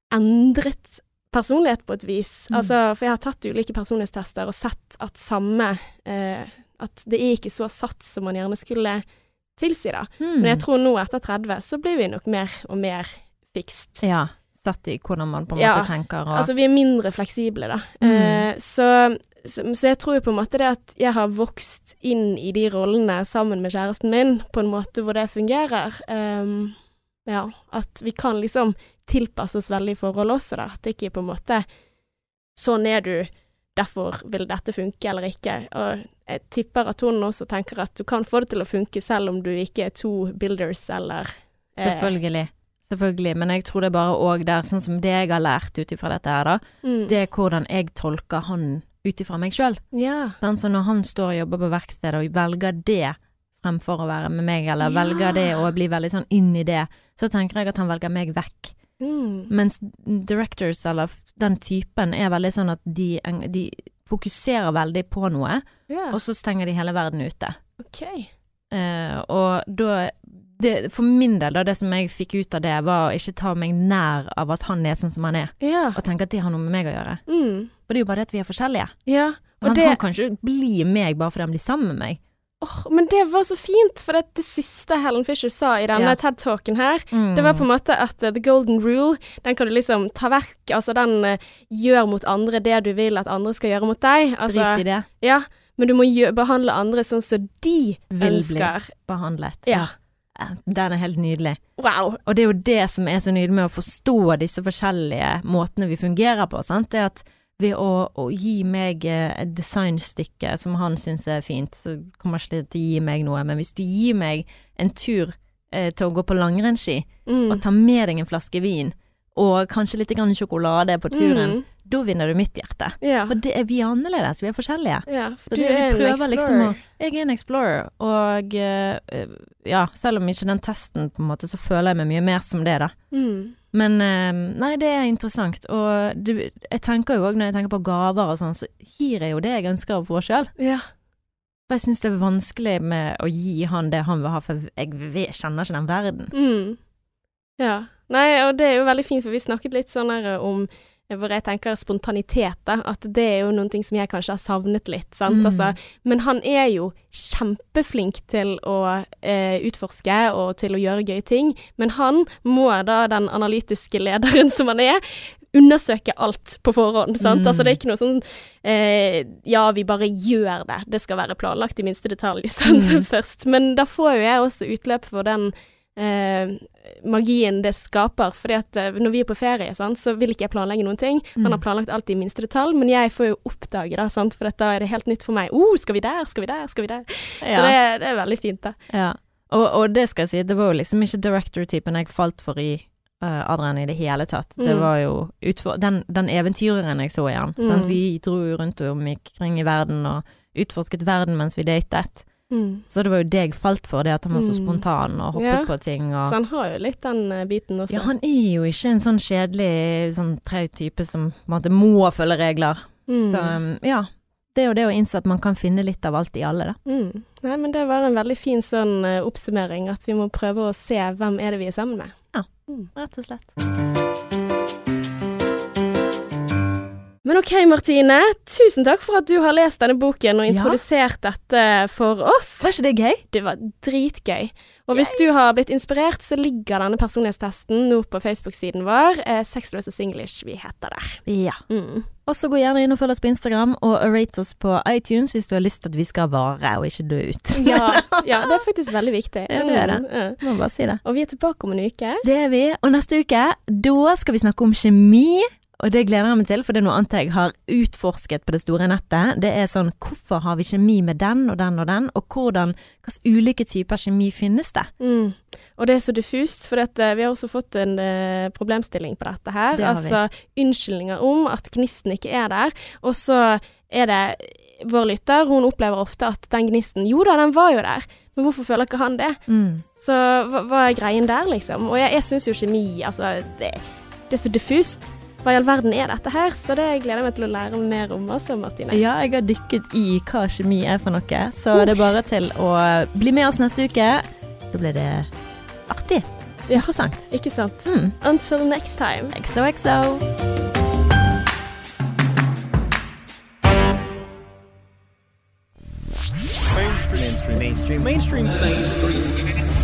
Speaker 1: endret personlighet på et vis.
Speaker 2: Mm.
Speaker 1: Altså, for jeg har tatt ulike personlighetstester og sett at samme eh, At det er ikke så satt som man gjerne skulle tilsi, da.
Speaker 2: Hmm.
Speaker 1: Men
Speaker 2: Mm.
Speaker 1: jeg tror nå etter 30 så blir vi nok mer og mer fikst.
Speaker 2: Ja, satt i hvordan man på en
Speaker 1: Ja,
Speaker 2: måte tenker og
Speaker 1: Altså vi er mindre fleksible, da. Eh, så, så, så jeg tror jo på en måte det at jeg har vokst inn i de rollene sammen med kjæresten min på en måte hvor det fungerer. Ehm, ja, at vi kan liksom tilpasse oss veldig i forhold også, da. At det ikke er på en måte Sånn er du, derfor vil dette funke eller ikke. Og jeg tipper at hun også tenker at du kan få det til å funke selv om du ikke er to builders eller eh,
Speaker 2: Selvfølgelig. Selvfølgelig. Men jeg tror det er bare òg der, sånn som det jeg har lært ut ifra dette her, da,
Speaker 1: Mm.
Speaker 2: det er hvordan jeg tolker han ut ifra meg sjøl.
Speaker 1: Ja.
Speaker 2: Sånn, så når han står og jobber på verkstedet og velger det fremfor å være med meg, eller
Speaker 1: Ja.
Speaker 2: velger det og blir veldig sånn inn i det, så tenker jeg at han velger meg vekk.
Speaker 1: Mm.
Speaker 2: Mens directors, eller f- den typen, er veldig sånn at de, eng- de fokuserer veldig på noe,
Speaker 1: Ja.
Speaker 2: og så stenger de hele verden ute.
Speaker 1: OK.
Speaker 2: Eh, og da det, For min del, da, det som jeg fikk ut av det, var å ikke ta meg nær av at han er sånn som han er,
Speaker 1: Ja.
Speaker 2: og tenke at det har noe med meg å gjøre.
Speaker 1: Mm.
Speaker 2: For det er jo bare det at vi er forskjellige.
Speaker 1: Ja, og
Speaker 2: Han,
Speaker 1: det
Speaker 2: han kan ikke bli meg bare fordi han blir sammen med meg.
Speaker 1: Åh, men det var så fint, for det, det siste Helen Fisher sa i denne
Speaker 2: Ja.
Speaker 1: TED-talken her,
Speaker 2: Mm.
Speaker 1: det var på en måte at eh, the golden rule, den kan du liksom ta vekk. Altså den eh, gjør mot andre det du vil at andre skal gjøre mot deg. Altså,
Speaker 2: Drit i det.
Speaker 1: Ja, men du må gjø- behandle andre sånn som de
Speaker 2: Vil bli.
Speaker 1: ønsker.
Speaker 2: Behandlet.
Speaker 1: Ja.
Speaker 2: Ja. Eh, Den er helt nydelig.
Speaker 1: Wow.
Speaker 2: Og det er jo det som er så nydelig med å forstå disse forskjellige måtene vi fungerer på, sant? det er at ved å, å gi meg eh, et designstykke som han syns er fint, så kommer ikke det til å gi meg noe, men hvis du gir meg en tur eh, til å gå på langrennsski,
Speaker 1: Mm.
Speaker 2: og ta med deg en flaske vin, og kanskje litt grann sjokolade på turen,
Speaker 1: Mm.
Speaker 2: da vinner du mitt hjerte.
Speaker 1: Ja.
Speaker 2: For det er vi er annerledes, vi er forskjellige.
Speaker 1: ja. For
Speaker 2: Så
Speaker 1: du
Speaker 2: det, vi
Speaker 1: er en explorer.
Speaker 2: prøver liksom å Jeg er en explorer, og eh, eh, ja, selv om ikke den testen, på en måte, så føler jeg meg mye mer som det, da.
Speaker 1: mm.
Speaker 2: Men eh, nei, det er interessant, og du, jeg tenker jo òg, når jeg tenker på gaver og sånn, så gir jeg jo det jeg ønsker å få sjøl.
Speaker 1: Ja.
Speaker 2: For jeg syns det er vanskelig med å gi han det han vil ha, for jeg vet, kjenner ikke den verden.
Speaker 1: Mm. ja. Nei, og det er jo veldig fint, for vi snakket litt sånn her om eh, hvor jeg tenker spontanitet, da. At det er jo noen ting som jeg kanskje har savnet litt, sant.
Speaker 2: Mm.
Speaker 1: Altså, men han er jo kjempeflink til å eh, utforske og til å gjøre gøye ting. Men han må da, den analytiske lederen som han er, undersøke alt på forhånd, sant.
Speaker 2: Mm.
Speaker 1: Altså det er ikke noe sånn eh, Ja, vi bare gjør det. Det skal være planlagt i minste detalj, sant,
Speaker 2: Mm.
Speaker 1: først. Men da får jo jeg også utløp for den eh, magien det skaper. Fordi at eh, når vi er på ferie, sant, så vil ikke jeg planlegge noen ting. Han
Speaker 2: Mm.
Speaker 1: har planlagt alt i minste detalj, men jeg får jo oppdage det, sant, for dette er det helt nytt for meg. Oh, skal vi der, skal vi der, skal vi der. Så det, det er veldig fint, da.
Speaker 2: Ja, og, og det skal jeg si, det var jo liksom ikke director-typen jeg falt for i eh, Adrian i det hele tatt. Det
Speaker 1: Mm.
Speaker 2: var jo utfor, den, den eventyreren jeg så i han. sant?
Speaker 1: Mm.
Speaker 2: Vi dro jo rundt om i kring i verden og utforsket verden mens vi datet. Så det var jo det jeg falt for, det at han var så
Speaker 1: Mm.
Speaker 2: spontan og hoppet
Speaker 1: Ja.
Speaker 2: på ting og
Speaker 1: Mm. Så han har jo litt den eh, biten også.
Speaker 2: ja, han er jo ikke en sånn kjedelig, sånn traut type som på en måte må følge regler.
Speaker 1: Mm.
Speaker 2: Så um, ja, det er jo det å innse at man kan finne litt av alt i alle, da.
Speaker 1: Mm. Nei, men det var en veldig fin sånn eh, oppsummering, at vi må prøve å se hvem er det vi er sammen med.
Speaker 2: Rett og slett.
Speaker 1: Men OK, Martine. Tusen takk for at du har lest denne boken og
Speaker 2: Ja.
Speaker 1: introdusert dette for oss.
Speaker 2: Var ikke det gøy?
Speaker 1: Det var dritgøy. Og hvis du har blitt inspirert, så ligger denne personlighetstesten nå på Facebook-siden vår. Eh, Sexløs og singlish, vi heter der.
Speaker 2: Ja.
Speaker 1: Mm.
Speaker 2: Og så gå gjerne inn og følg oss på Instagram og rate oss på iTunes hvis du har lyst til at vi skal vare og ikke dø ut.
Speaker 1: Ja, ja, det er faktisk veldig viktig.
Speaker 2: Ja, det er det.
Speaker 1: Mm, ja.
Speaker 2: Må bare si det.
Speaker 1: Og vi er tilbake om en uke.
Speaker 2: Det er vi. Og neste uke, da skal vi snakke om kjemi. Og det gleder jeg meg til, for det er noe annet jeg har utforsket på det store nettet. Det er sånn hvorfor har vi kjemi med den og den og den, og hvordan, hvilke ulike typer kjemi finnes det?
Speaker 1: Mm. Og det er så diffust, for at, eh, vi har også fått en eh, problemstilling på dette her.
Speaker 2: Det har vi.
Speaker 1: altså unnskyldninger om at gnisten ikke er der. Og så er det eh, vår lytter, hun opplever ofte at den gnisten Jo da, den var jo der, men hvorfor føler ikke han det?
Speaker 2: Mm.
Speaker 1: Så hva, hva er greien der, liksom? Og jeg, jeg syns jo kjemi, altså det, det er så diffust. Hva i all verden er dette her? Så det gleder jeg meg til å lære mer om også, Martine.
Speaker 2: Ja, jeg har dykket i hva kjemi er for noe, så det er bare til å bli med oss neste uke. Da blir det artig. Interessant.
Speaker 1: Ikke sant?
Speaker 2: Mm.
Speaker 1: Until next time.
Speaker 2: XOXO.
Speaker 3: mainstream mainstream mainstream mainstream mainstream